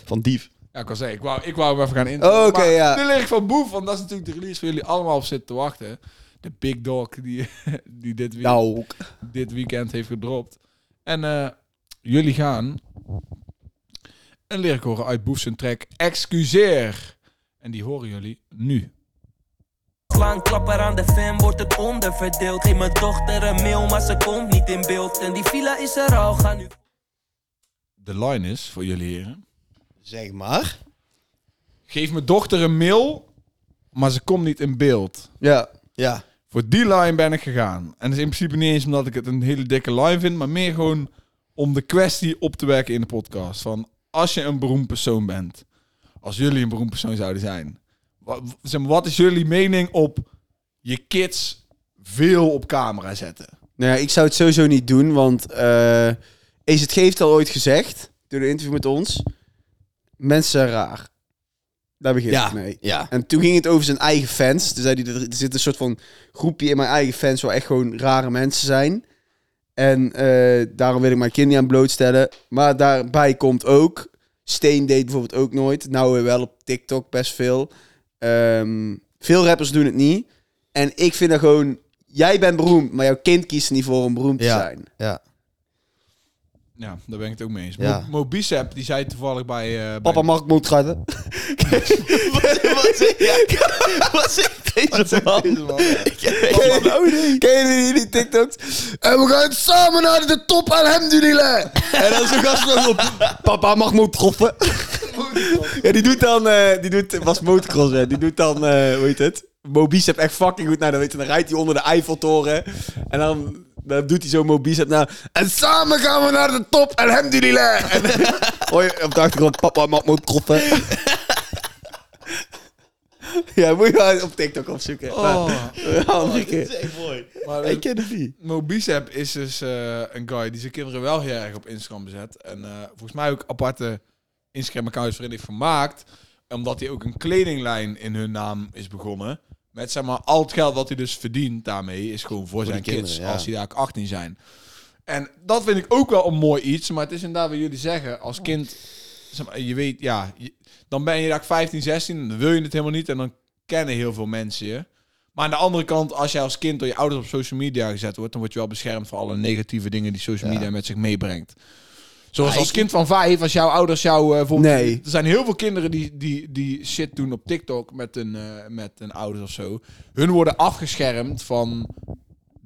Speaker 3: Van Dief.
Speaker 1: Ja, ik kan zeggen, ik wou, ik wou hem even gaan introduceren.
Speaker 2: Oké, ja.
Speaker 1: De lyric van Boef, want dat is natuurlijk de release waar jullie allemaal op zitten te wachten. De big dog die, die dit, week-
Speaker 2: Nou, ook.
Speaker 1: dit weekend heeft gedropt. En eh, jullie gaan een lyric horen uit Boef zijn track Excuseer. En die horen jullie nu.
Speaker 4: Slaan klapper aan de fan, wordt het onderverdeeld. Geef mijn dochter een mail, maar ze komt niet in beeld. En die villa is er al, ga nu
Speaker 1: De line is voor jullie heren.
Speaker 3: Zeg maar.
Speaker 1: Geef mijn dochter een mail, maar ze komt niet in beeld.
Speaker 2: Ja,
Speaker 3: Ja.
Speaker 1: Voor die line ben ik gegaan. En dat is in principe niet eens omdat ik het een hele dikke line vind, maar meer gewoon om de kwestie op te werken in de podcast. Van als je een beroemd persoon bent, als jullie een beroemd persoon zouden zijn, wa- w- zeg maar, wat is jullie mening op je kids veel op camera zetten?
Speaker 2: Nou ja, ik zou het sowieso niet doen, want eh is het heeft al ooit gezegd, door een interview met ons, mensen zijn raar. Daar begint
Speaker 3: Ja.
Speaker 2: het mee.
Speaker 3: Ja.
Speaker 2: En toen ging het over zijn eigen fans. Toen zei hij, er zit een soort van groepje in mijn eigen fans waar echt gewoon rare mensen zijn. En eh, daarom wil ik mijn kind niet aan blootstellen. Maar daarbij komt ook, Steen deed bijvoorbeeld ook nooit. Nou weer wel op TikTok best veel. Ehm, veel rappers doen het niet. En ik vind dat gewoon, jij bent beroemd, maar jouw kind kiest er niet voor om beroemd
Speaker 3: Ja.
Speaker 2: te zijn.
Speaker 3: Ja.
Speaker 1: Ja, daar ben ik het ook mee eens.
Speaker 3: Ja.
Speaker 1: Mo, Mo Bicep, die zei toevallig bij... eh,
Speaker 2: Papa
Speaker 1: bij
Speaker 2: mag ik moet gaan.
Speaker 3: Wat zeg ja, Wat zegt deze man?
Speaker 2: Ken je- ken je die- die TikToks? En we gaan samen naar de top, alhamdulillah. En dan zo'n gast nog op, papa mag motorcrossen. ja, die doet dan, eh, die doet, was motocross, hè. die doet dan, eh hoe heet het? Mobicep echt fucking goed. Nou, dan, weet je, dan rijdt hij onder de Eiffeltoren. En dan, dan doet hij zo Mobicep na. En samen gaan we naar de top, alhamdulillah. En hoor je op de achtergrond, papa mag motorcrossen. Ja, moet je wel op TikTok opzoeken.
Speaker 1: Oh.
Speaker 2: Maar, andere
Speaker 3: dit
Speaker 2: keer.
Speaker 3: is echt mooi.
Speaker 1: Maar
Speaker 2: Ik ken het niet.
Speaker 1: Mobicep is dus eh, een guy die zijn kinderen wel heel erg op Instagram bezet. En eh, volgens mij ook aparte Instagram-accounts waarin hij vermaakt. Omdat hij ook een kledinglijn in hun naam is begonnen. Met zeg maar al het geld wat hij dus verdient daarmee is gewoon voor, zijn
Speaker 3: die
Speaker 1: kids
Speaker 3: kinderen, ja.
Speaker 1: als die daar 18 zijn. En dat vind ik ook wel een mooi iets. Maar het is inderdaad wat jullie zeggen. Als kind, zeg maar, je weet, ja, je- dan ben je daar 15, 16 en dan wil je het helemaal niet. En dan kennen heel veel mensen je. Maar aan de andere kant, als jij als kind door je ouders op social media gezet wordt, dan word je wel beschermd voor alle negatieve dingen die social media met zich meebrengt. Zoals als kind van vijf, als jouw ouders jou eh, bijvoorbeeld...
Speaker 2: Nee.
Speaker 1: Er zijn heel veel kinderen die, die, die shit doen op TikTok met hun, eh, met hun ouders of zo. Hun worden afgeschermd van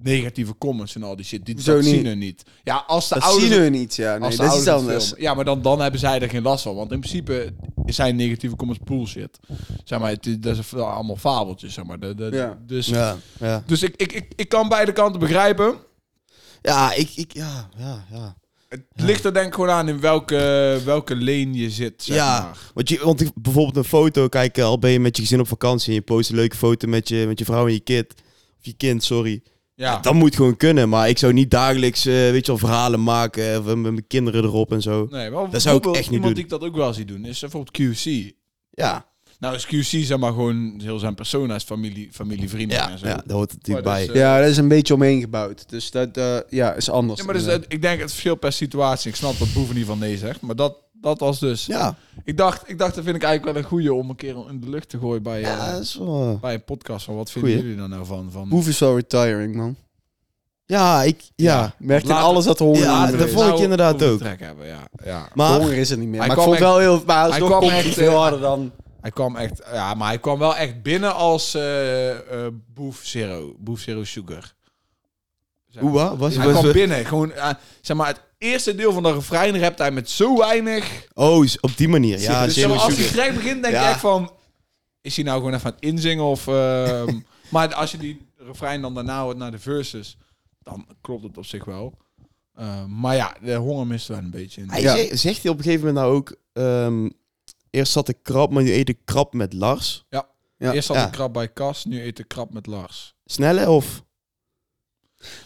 Speaker 1: negatieve comments en al die shit. Die,
Speaker 2: Zo
Speaker 1: dat zien
Speaker 2: niet.
Speaker 1: hun niet. Ja, als de
Speaker 2: Dat
Speaker 1: ouders...
Speaker 2: zien we niet, ja. Nee,
Speaker 1: als de
Speaker 2: dat is iets
Speaker 1: ouders het
Speaker 2: anders.
Speaker 1: filmen. Ja, maar dan, dan hebben zij er geen last van. Want in principe zijn negatieve comments bullshit. Zeg maar, het, is- dat is allemaal fabeltjes, zeg maar. De, de,
Speaker 2: Ja.
Speaker 1: Dus,
Speaker 3: Ja, ja.
Speaker 1: dus ik, ik, ik, ik kan beide kanten begrijpen.
Speaker 3: Ja, ik, ik, ja, ja, ja.
Speaker 1: Het ligt er denk ik gewoon aan in welke, welke lane je zit, zeg
Speaker 3: ja,
Speaker 1: maar.
Speaker 3: want, je, want ik- bijvoorbeeld een foto, kijk, eh, al ben je met je gezin op vakantie en je post een leuke foto met je, met je vrouw en je kind, of je kind, sorry.
Speaker 1: Ja,
Speaker 3: Dat moet gewoon kunnen, maar ik zou niet dagelijks, eh, weet je wel, verhalen maken eh, met met mijn kinderen erop en zo.
Speaker 1: nee, maar
Speaker 3: dat zou ik
Speaker 1: bijvoorbeeld
Speaker 3: echt niet
Speaker 1: iemand die
Speaker 3: doen.
Speaker 1: ik dat ook wel zie doen, is bijvoorbeeld QC.
Speaker 3: Ja,
Speaker 1: Nou, is QC zeg maar gewoon heel zijn persona's, familie, familie vrienden
Speaker 3: ja,
Speaker 1: en zo.
Speaker 3: ja, dat hoort natuurlijk
Speaker 1: Maar
Speaker 3: bij.
Speaker 1: dat is, eh,
Speaker 2: Ja, dat is een beetje omheen gebouwd. Dus dat eh, ja, is anders.
Speaker 1: Ja, maar dus, het- ik denk het verschil per situatie. Ik snap dat Boeven niet van nee zegt, maar dat, dat was dus.
Speaker 3: ja,
Speaker 1: Ik dacht, ik dacht, dat vind ik eigenlijk wel een goeie om een keer in de lucht te gooien bij, eh,
Speaker 3: ja, dat is wel... eh,
Speaker 1: bij een podcast. Van wat vinden
Speaker 3: Goeie.
Speaker 1: jullie daar nou van? van
Speaker 2: Boef is wel retiring, man.
Speaker 3: Ja, ik, ja.
Speaker 2: Merkt in
Speaker 1: Later-
Speaker 2: alles dat er honger
Speaker 3: Ja,
Speaker 2: aan de
Speaker 3: dat
Speaker 2: is.
Speaker 3: vond ik inderdaad
Speaker 1: over de
Speaker 3: ook.
Speaker 1: Nou, trek hebben, ja. ja.
Speaker 3: Maar
Speaker 2: Honger is het niet meer.
Speaker 1: Hij
Speaker 2: maar ik
Speaker 1: kwam
Speaker 2: vond wel heel... Maar hij
Speaker 1: kwam
Speaker 2: kwam
Speaker 1: echt,
Speaker 2: echt veel
Speaker 1: eh,
Speaker 2: harder dan...
Speaker 1: Hij kwam echt, ja, maar hij kwam wel echt binnen als eh, eh, Boef Zero, Boef Zero Sugar. Zeg
Speaker 3: Hoe
Speaker 1: maar.
Speaker 3: wa- was
Speaker 1: Hij
Speaker 3: was-
Speaker 1: kwam binnen, gewoon, eh, zeg maar, het eerste deel van de refrein rapt hij met zo weinig.
Speaker 3: Oh, is- op die manier. Ja,
Speaker 1: dus zeg
Speaker 3: Zero
Speaker 1: maar, als hij
Speaker 3: Sugar.
Speaker 1: gelijk begint, denk
Speaker 3: Ja.
Speaker 1: ik echt van, is hij nou gewoon even aan het inzingen of... ehm, maar als je die refrein dan daarna hoort naar de verses, dan klopt het op zich wel. Eh, maar ja, de honger mist wel een beetje in.
Speaker 3: Hij
Speaker 2: Ja.
Speaker 3: zegt, zegt hij op een gegeven moment nou ook... ehm, eerst zat ik krap, maar nu eet ik krap met Lars.
Speaker 2: ja,
Speaker 1: Eerst had
Speaker 3: ja.
Speaker 1: ik krap bij Kas, nu eet ik krap met Lars.
Speaker 3: Snelle of...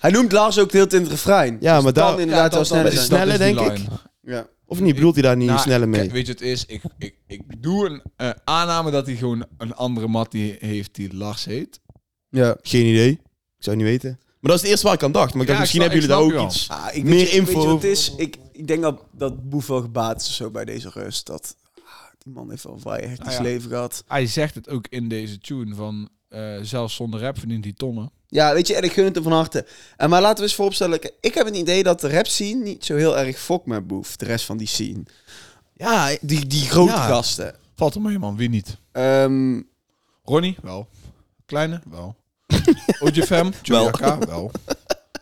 Speaker 2: Hij noemt Lars ook de hele tijd in het refrein.
Speaker 3: Ja,
Speaker 2: Dus
Speaker 3: maar
Speaker 2: het kan
Speaker 3: daar-
Speaker 1: Ja,
Speaker 2: inderdaad
Speaker 1: dat-
Speaker 2: wel
Speaker 1: Dus dat
Speaker 2: sneller
Speaker 1: is-
Speaker 2: zijn.
Speaker 3: snel- Snelle,
Speaker 1: dat is die
Speaker 3: denk
Speaker 1: line.
Speaker 2: Ja.
Speaker 3: Of niet? Bedoelt hij daar niet
Speaker 1: Nou,
Speaker 3: sneller mee?
Speaker 1: kijk, weet je, het is, ik, ik, ik doe een eh, aanname dat hij gewoon een andere mat die heeft die Lars heet.
Speaker 2: Ja.
Speaker 3: Geen idee. Ik zou het niet weten. Maar dat is het eerste waar ik aan dacht. Maar ik
Speaker 1: Ja,
Speaker 3: dacht, misschien
Speaker 1: ik
Speaker 3: hebben
Speaker 1: snap-
Speaker 3: jullie
Speaker 1: ik
Speaker 3: daar ook iets...
Speaker 2: Ah, ik
Speaker 3: Meer
Speaker 2: weet je- Weet
Speaker 3: info
Speaker 2: je wat het
Speaker 3: over-
Speaker 2: is? Ik, ik denk dat, dat Boef wel gebaat is of zo bij deze rust. Dat ah, die man heeft wel een vrij hectisch
Speaker 1: Ah, ja.
Speaker 2: leven gehad.
Speaker 1: Hij zegt het ook in deze tune van eh, zelfs zonder rap verdient hij tonnen.
Speaker 2: Ja, weet je, en ik gun het hem van harte. En maar laten we eens vooropstellen, ik- ik heb het idee dat de rap scene niet zo heel erg fokt met Boef, de rest van die scene.
Speaker 3: Ja,
Speaker 2: Die, die grote
Speaker 3: Ja.
Speaker 2: gasten.
Speaker 1: Valt er mee, man. Wie niet?
Speaker 2: Ehm,
Speaker 1: Ronnie? Wel. Kleine? Wel. Oudje Fem? Chewbacca? Wel.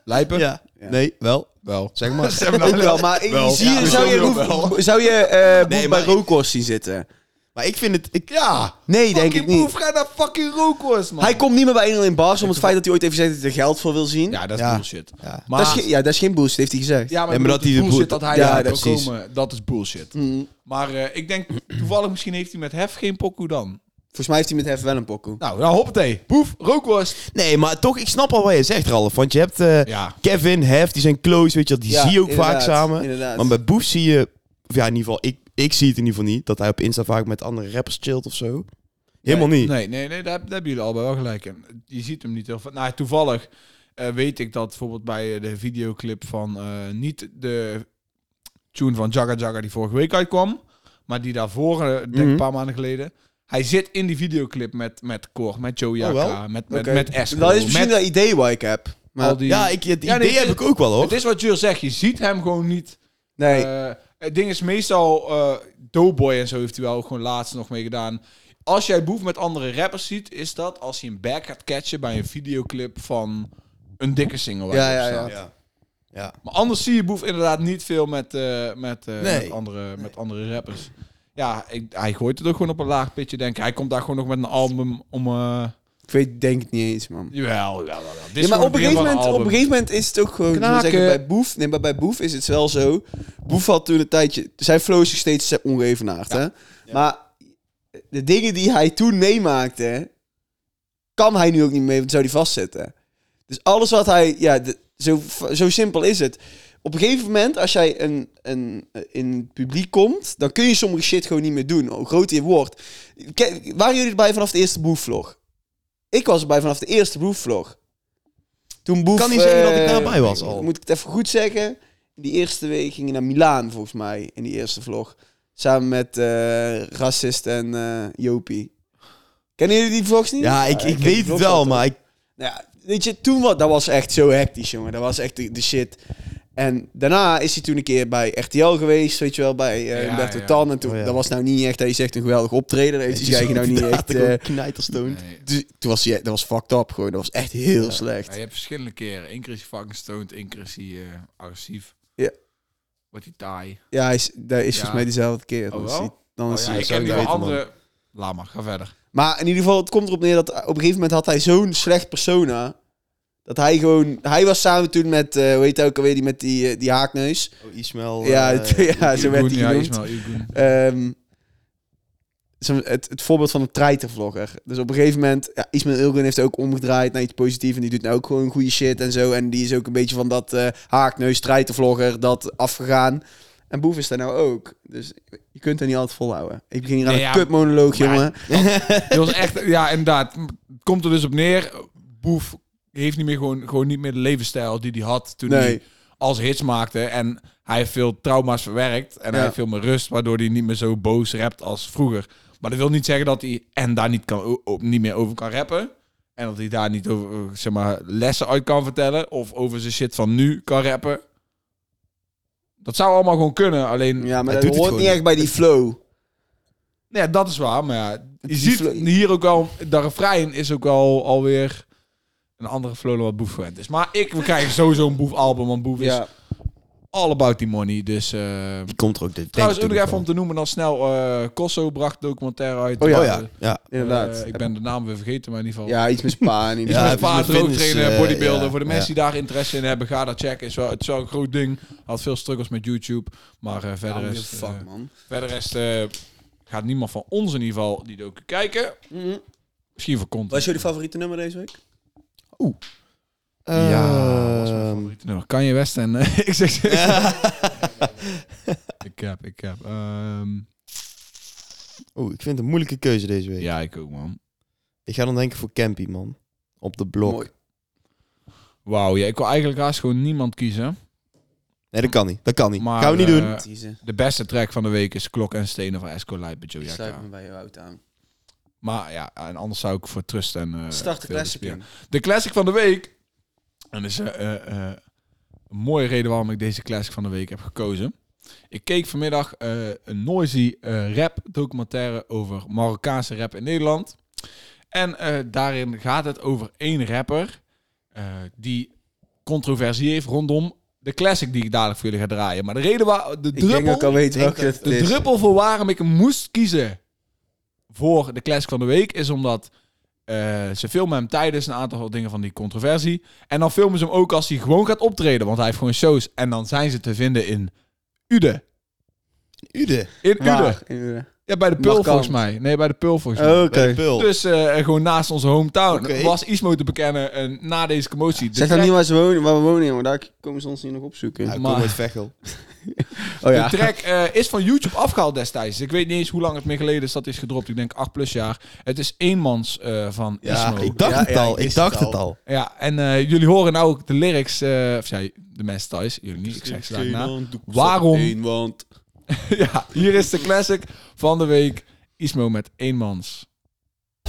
Speaker 1: Lijpen?
Speaker 3: ja. Nee, wel.
Speaker 1: Wel.
Speaker 3: Zeg maar.
Speaker 1: Ze hebben
Speaker 2: ook
Speaker 1: nou-
Speaker 2: wel, maar in
Speaker 1: Wel.
Speaker 2: die zie je,
Speaker 1: Ja,
Speaker 2: zou je,
Speaker 1: sowieso
Speaker 2: Boef-
Speaker 1: wel.
Speaker 2: zou je eh, Boef bij
Speaker 3: Nee, maar-
Speaker 2: Rokos zien zitten?
Speaker 3: Maar ik vind het... Ik, ja.
Speaker 2: Nee, denk ik
Speaker 1: Fucking
Speaker 2: niet.
Speaker 1: Boef, ga naar fucking Rokos, man.
Speaker 2: Hij komt niet meer bij 1 in bars om het feit dat hij ooit heeft gezegd dat hij er geld voor wil zien.
Speaker 1: Ja, dat is
Speaker 3: Ja.
Speaker 1: bullshit.
Speaker 3: Ja.
Speaker 1: Maar,
Speaker 2: dat is ge- ja, dat is geen boost, heeft hij gezegd.
Speaker 1: Ja, maar,
Speaker 3: Ja,
Speaker 1: ik
Speaker 3: maar
Speaker 1: bedoel,
Speaker 3: dat hij
Speaker 1: die
Speaker 3: de
Speaker 1: bullshit
Speaker 3: boel-
Speaker 1: dat hij
Speaker 2: Ja,
Speaker 1: daar
Speaker 2: dat
Speaker 1: wil
Speaker 2: precies.
Speaker 1: komen, dat is bullshit.
Speaker 2: Mm.
Speaker 1: Maar eh, ik denk, toevallig misschien heeft hij met Hef geen pokoe dan.
Speaker 2: Volgens mij heeft hij met Hef wel een pokoe.
Speaker 1: Nou, nou hoppatee. Boef, rookworst.
Speaker 3: Nee, maar toch, ik snap al wat je zegt, Ralf. Want je hebt eh,
Speaker 1: Ja.
Speaker 3: Kevin, Hef, die zijn close, weet je wel, Die
Speaker 2: Ja,
Speaker 3: zie je ook vaak
Speaker 2: inderdaad,
Speaker 3: samen.
Speaker 2: inderdaad.
Speaker 3: Maar bij Boef zie je... Of ja, in ieder geval, ik, ik zie het in ieder geval niet. Dat hij op Insta vaak met andere rappers chillt of zo. Helemaal niet.
Speaker 1: Nee, nee, nee, daar, daar hebben jullie allebei wel gelijk in. Je ziet hem niet heel vaak. Nou, toevallig eh, weet ik dat bijvoorbeeld bij eh, de videoclip van... eh, niet de tune van Jagga Jagga die vorige week uitkwam. Maar die daarvoor, eh, denk ik
Speaker 3: Mhm.
Speaker 1: een paar maanden geleden... Hij zit in die videoclip met, met Cor, met Joey
Speaker 3: Oh,
Speaker 1: Jaka,
Speaker 3: wel?
Speaker 1: met, met,
Speaker 2: Oké.
Speaker 1: met Esco,
Speaker 2: Dat is misschien
Speaker 1: met Oh,
Speaker 2: dat idee wat ik heb. Maar
Speaker 1: al die...
Speaker 3: Ja, ik, het
Speaker 1: Ja, nee,
Speaker 3: idee
Speaker 1: het
Speaker 3: heb
Speaker 1: is-
Speaker 3: ik ook wel, hoor.
Speaker 1: Het is wat Jur zegt, je ziet hem gewoon niet...
Speaker 2: nee.
Speaker 1: Eh, het ding is meestal, eh Doughboy en zo heeft hij wel ook gewoon laatst nog mee gedaan. Als jij Boef met andere rappers ziet, is dat als hij een back gaat catchen bij een videoclip van een dikke single. waar
Speaker 2: Ja,
Speaker 1: hij op
Speaker 2: ja, ja.
Speaker 1: staat.
Speaker 3: Ja. Ja.
Speaker 1: Maar anders zie je Boef inderdaad niet veel met, eh, met, eh,
Speaker 3: Nee.
Speaker 1: met, andere, met andere rappers. Ja, ik- hij gooit het ook gewoon op een laag pitje, denk ik. Hij komt daar gewoon nog met een album om... eh
Speaker 2: Ik weet, denk het niet eens, man.
Speaker 1: jawel, jawel, jawel. Dit is
Speaker 2: Ja, maar
Speaker 1: gewoon
Speaker 2: op een,
Speaker 1: het begin
Speaker 2: gegeven
Speaker 1: van
Speaker 2: moment, op een
Speaker 1: album.
Speaker 2: gegeven moment is het ook gewoon... ik wil
Speaker 1: Knaken.
Speaker 2: Zeggen, bij Boef, nee, maar bij Boef is het wel zo. Boef had toen een tijdje... Zijn flow is nog steeds ongevenaard, hè? Maar de dingen die hij toen meemaakte, kan hij nu ook niet meer, want zou die vastzetten. Dus alles wat hij, ja, de- zo, zo simpel is het. Op een gegeven moment, als jij een, een, in het publiek komt, dan kun je sommige shit gewoon niet meer doen, hoe groot je wordt. Kijk, waren jullie erbij vanaf de eerste Boef-vlog? Ik was erbij vanaf de eerste Boef-vlog. Toen Boef...
Speaker 3: kan niet zeggen dat ik
Speaker 2: eh,
Speaker 3: daarbij was al.
Speaker 2: moet ik het even goed zeggen. Die eerste week ging je naar Milaan, volgens mij, in die eerste vlog. Samen met eh, Racist en eh Jopie. Kennen jullie die vlogs niet?
Speaker 3: Ja, ik,
Speaker 2: ken
Speaker 3: ik
Speaker 2: die
Speaker 3: weet het
Speaker 2: vlogs
Speaker 3: wel,
Speaker 2: altijd.
Speaker 3: maar ik,
Speaker 2: Nou ja, weet je, toen was... Dat was echt zo hectisch, jongen. Dat was echt de, de shit. En daarna is hij toen een keer bij RTL geweest, weet je wel, bij eh
Speaker 1: Ja,
Speaker 2: Humberto
Speaker 1: ja.
Speaker 2: Tan. En toen,
Speaker 3: Oh, ja.
Speaker 2: dat was nou niet echt, hij zegt een geweldig optreden. Dat heeft hij zich eigenlijk nou niet echt... eh,
Speaker 3: knijterstoon.
Speaker 1: Nee.
Speaker 2: dus toen was hij, dat was fucked up gewoon, dat was echt heel slecht.
Speaker 1: Ja, je hebt verschillende keren. Eén keer is hij fucking stoned, één keer is hij eh, agressief.
Speaker 2: Ja.
Speaker 1: Wordt hij taai.
Speaker 2: Ja, hij is, dat is volgens
Speaker 1: Ja.
Speaker 2: mij dezelfde keer.
Speaker 1: Oh,
Speaker 2: Dan is
Speaker 1: wel?
Speaker 2: hij- dan
Speaker 1: Oh,
Speaker 2: is
Speaker 1: ja,
Speaker 2: hij
Speaker 1: ik
Speaker 3: zou
Speaker 1: heb
Speaker 3: ik
Speaker 1: nu
Speaker 3: weten,
Speaker 1: een andere... Laat maar, ga verder.
Speaker 2: Maar in ieder geval, het komt erop neer dat op een gegeven moment had hij zo'n slecht persona. Dat hij gewoon... Hij was samen toen met, eh hoe heet hij ook alweer, die met die, eh, die haakneus.
Speaker 3: Oh, Ismael.
Speaker 2: ja,
Speaker 3: eh,
Speaker 2: ja, zo werd
Speaker 1: Igoen,
Speaker 2: hij
Speaker 1: ja,
Speaker 2: genoemd.
Speaker 1: Ismail Igoen.
Speaker 2: Ehm, zo- het, het voorbeeld van een treitervlogger. Dus op een gegeven moment, ja, Ismail Ilgun heeft ook omgedraaid naar iets positiefs. En die doet nou ook gewoon goede shit en zo. En die is ook een beetje van dat eh, haakneus treitervlogger, dat afgegaan. En Boef is daar nou ook. Dus je kunt er niet altijd volhouden. Ik begin hier aan
Speaker 1: Nee,
Speaker 2: een
Speaker 1: ja,
Speaker 2: kutmonoloog,
Speaker 1: maar-
Speaker 2: jongen.
Speaker 1: Dat was echt, ja, inderdaad. Het komt er dus op neer. Boef heeft niet meer gewoon, gewoon niet meer de levensstijl die hij had toen
Speaker 2: Nee.
Speaker 1: hij als hits maakte. En hij heeft veel trauma's verwerkt. En hij
Speaker 2: Ja.
Speaker 1: heeft veel meer rust, waardoor hij niet meer zo boos rapt als vroeger. Maar dat wil niet zeggen dat hij en daar niet, kan, o- o- niet meer over kan rappen. En dat hij daar niet over eh, zeg maar, lessen uit kan vertellen. Of over zijn shit van nu kan rappen. Dat zou allemaal gewoon kunnen. Alleen,
Speaker 2: Ja, maar dat
Speaker 3: Hij doet het
Speaker 2: hoort
Speaker 3: gewoon
Speaker 2: niet echt bij die flow.
Speaker 1: ja, dat is waar, maar ja, je
Speaker 2: Die
Speaker 1: ziet
Speaker 2: flow-
Speaker 1: hier ook al, de refrein is ook al alweer een andere flow dan wat Boef gewend is. Maar ik, we krijgen sowieso een Boef-album, want Boef is
Speaker 2: Ja.
Speaker 1: all about the money, dus... eh
Speaker 3: Die komt er ook. dit-
Speaker 1: trouwens, ook
Speaker 3: denk
Speaker 1: nog even
Speaker 3: ik toen
Speaker 1: om te noemen, dan snel, eh Kosso bracht documentaire uit.
Speaker 2: Oh
Speaker 3: nog
Speaker 2: ja.
Speaker 3: wel.
Speaker 1: Eh,
Speaker 3: Oh ja, ja.
Speaker 2: Inderdaad.
Speaker 1: eh, ik ben de naam weer vergeten, maar in ieder geval...
Speaker 2: Ja, iets met Spa en iets
Speaker 3: Ja,
Speaker 1: Ja,
Speaker 2: met-
Speaker 3: even
Speaker 1: paard,
Speaker 3: met fitness,
Speaker 1: rooktrainen,
Speaker 3: eh,
Speaker 1: bodybuilden.
Speaker 3: ja,
Speaker 1: Voor de
Speaker 3: ja.
Speaker 1: mensen die daar interesse in hebben, ga dat checken. Is wel, het is wel een groot ding. Had veel struggles met YouTube. Maar eh, verder
Speaker 2: Ja,
Speaker 1: is... eh,
Speaker 2: fuck, man.
Speaker 1: Verder rest eh, gaat niemand van ons in ieder geval die docu kijken. Misschien voor content.
Speaker 2: Wat Mhm. is jullie favoriete nummer deze week? Eh,
Speaker 1: Ja, was mijn
Speaker 3: Ehm,
Speaker 1: favoriete nummer. Kan je Eh, West en eh, ik zeg ik heb, ik heb. ehm,
Speaker 3: Oeh, ik vind het een moeilijke keuze deze week.
Speaker 1: ja, ik ook man.
Speaker 3: Ik ga dan denken voor Campy, man. Op de blok.
Speaker 2: Mooi.
Speaker 1: Wauw, ja, ik wil eigenlijk haast gewoon niemand kiezen.
Speaker 3: Nee, dat kan niet. Dat kan niet.
Speaker 1: Maar,
Speaker 3: Gaan we niet
Speaker 1: eh,
Speaker 3: doen.
Speaker 2: Teaser.
Speaker 1: De beste track van de week is Klok en Stenen van Esco Light bij Joe
Speaker 2: Ik sluit
Speaker 1: Jacka.
Speaker 2: me bij jou uit aan.
Speaker 1: Maar ja, en anders zou ik voor Trust en... eh,
Speaker 2: Start de
Speaker 1: Veel
Speaker 2: classic
Speaker 1: Spier-
Speaker 2: in.
Speaker 1: De classic van de week. En dat is eh, eh, eh, een mooie reden waarom ik deze classic van de week heb gekozen. Ik keek vanmiddag eh, een noisy eh, rap documentaire over Marokkaanse rap in Nederland. En eh, daarin gaat het over één rapper eh, die controversie heeft rondom de classic die ik dadelijk voor jullie ga draaien. Maar de reden waar de
Speaker 2: Ik denk dat ik
Speaker 1: druppel,
Speaker 2: al weet welke
Speaker 3: dat
Speaker 2: het
Speaker 1: de
Speaker 2: is.
Speaker 1: druppel voor waarom ik hem moest kiezen voor de classic van de week is omdat eh, ze filmen hem tijdens een aantal dingen van die controversie. En dan filmen ze hem ook als hij gewoon gaat optreden. Want hij heeft gewoon shows. En dan zijn ze te vinden in Ude.
Speaker 3: Ude.
Speaker 1: In Ude.
Speaker 2: Waar? In Ude.
Speaker 1: Ja, bij de Pul
Speaker 2: Markant.
Speaker 1: volgens mij. Nee, bij de Pul volgens mij.
Speaker 2: Oké.
Speaker 3: Bij de Peul.
Speaker 1: Dus eh, gewoon naast onze hometown
Speaker 3: Oké.
Speaker 1: was Ismo te bekennen eh, na deze commotie. De
Speaker 2: Zeg dan
Speaker 1: track-
Speaker 2: niet waar, ze wonen, waar we wonen, jongen. Daar komen ze ons niet nog opzoeken.
Speaker 3: Ja, ik
Speaker 1: maar-
Speaker 3: kom uit Vechel.
Speaker 2: Oh ja.
Speaker 1: De track eh, is van YouTube afgehaald destijds. Ik weet niet eens hoe lang het meer geleden is dat is gedropt. Ik denk 8 plus jaar. Het is eenmans eh, van
Speaker 3: Ja,
Speaker 1: Ismo.
Speaker 3: ik dacht
Speaker 2: Ja,
Speaker 3: het
Speaker 2: ja,
Speaker 3: al.
Speaker 2: ik
Speaker 3: ik
Speaker 2: wist
Speaker 3: dacht
Speaker 2: het
Speaker 3: het al.
Speaker 1: Ja, en eh, jullie horen nou ook de lyrics. eh, of zij, de mensen thuis. Jullie niet, ik zeg ze daarna. Waarom-
Speaker 2: want...
Speaker 1: Ja, hier is de classic van de week. Ismo met eenmans.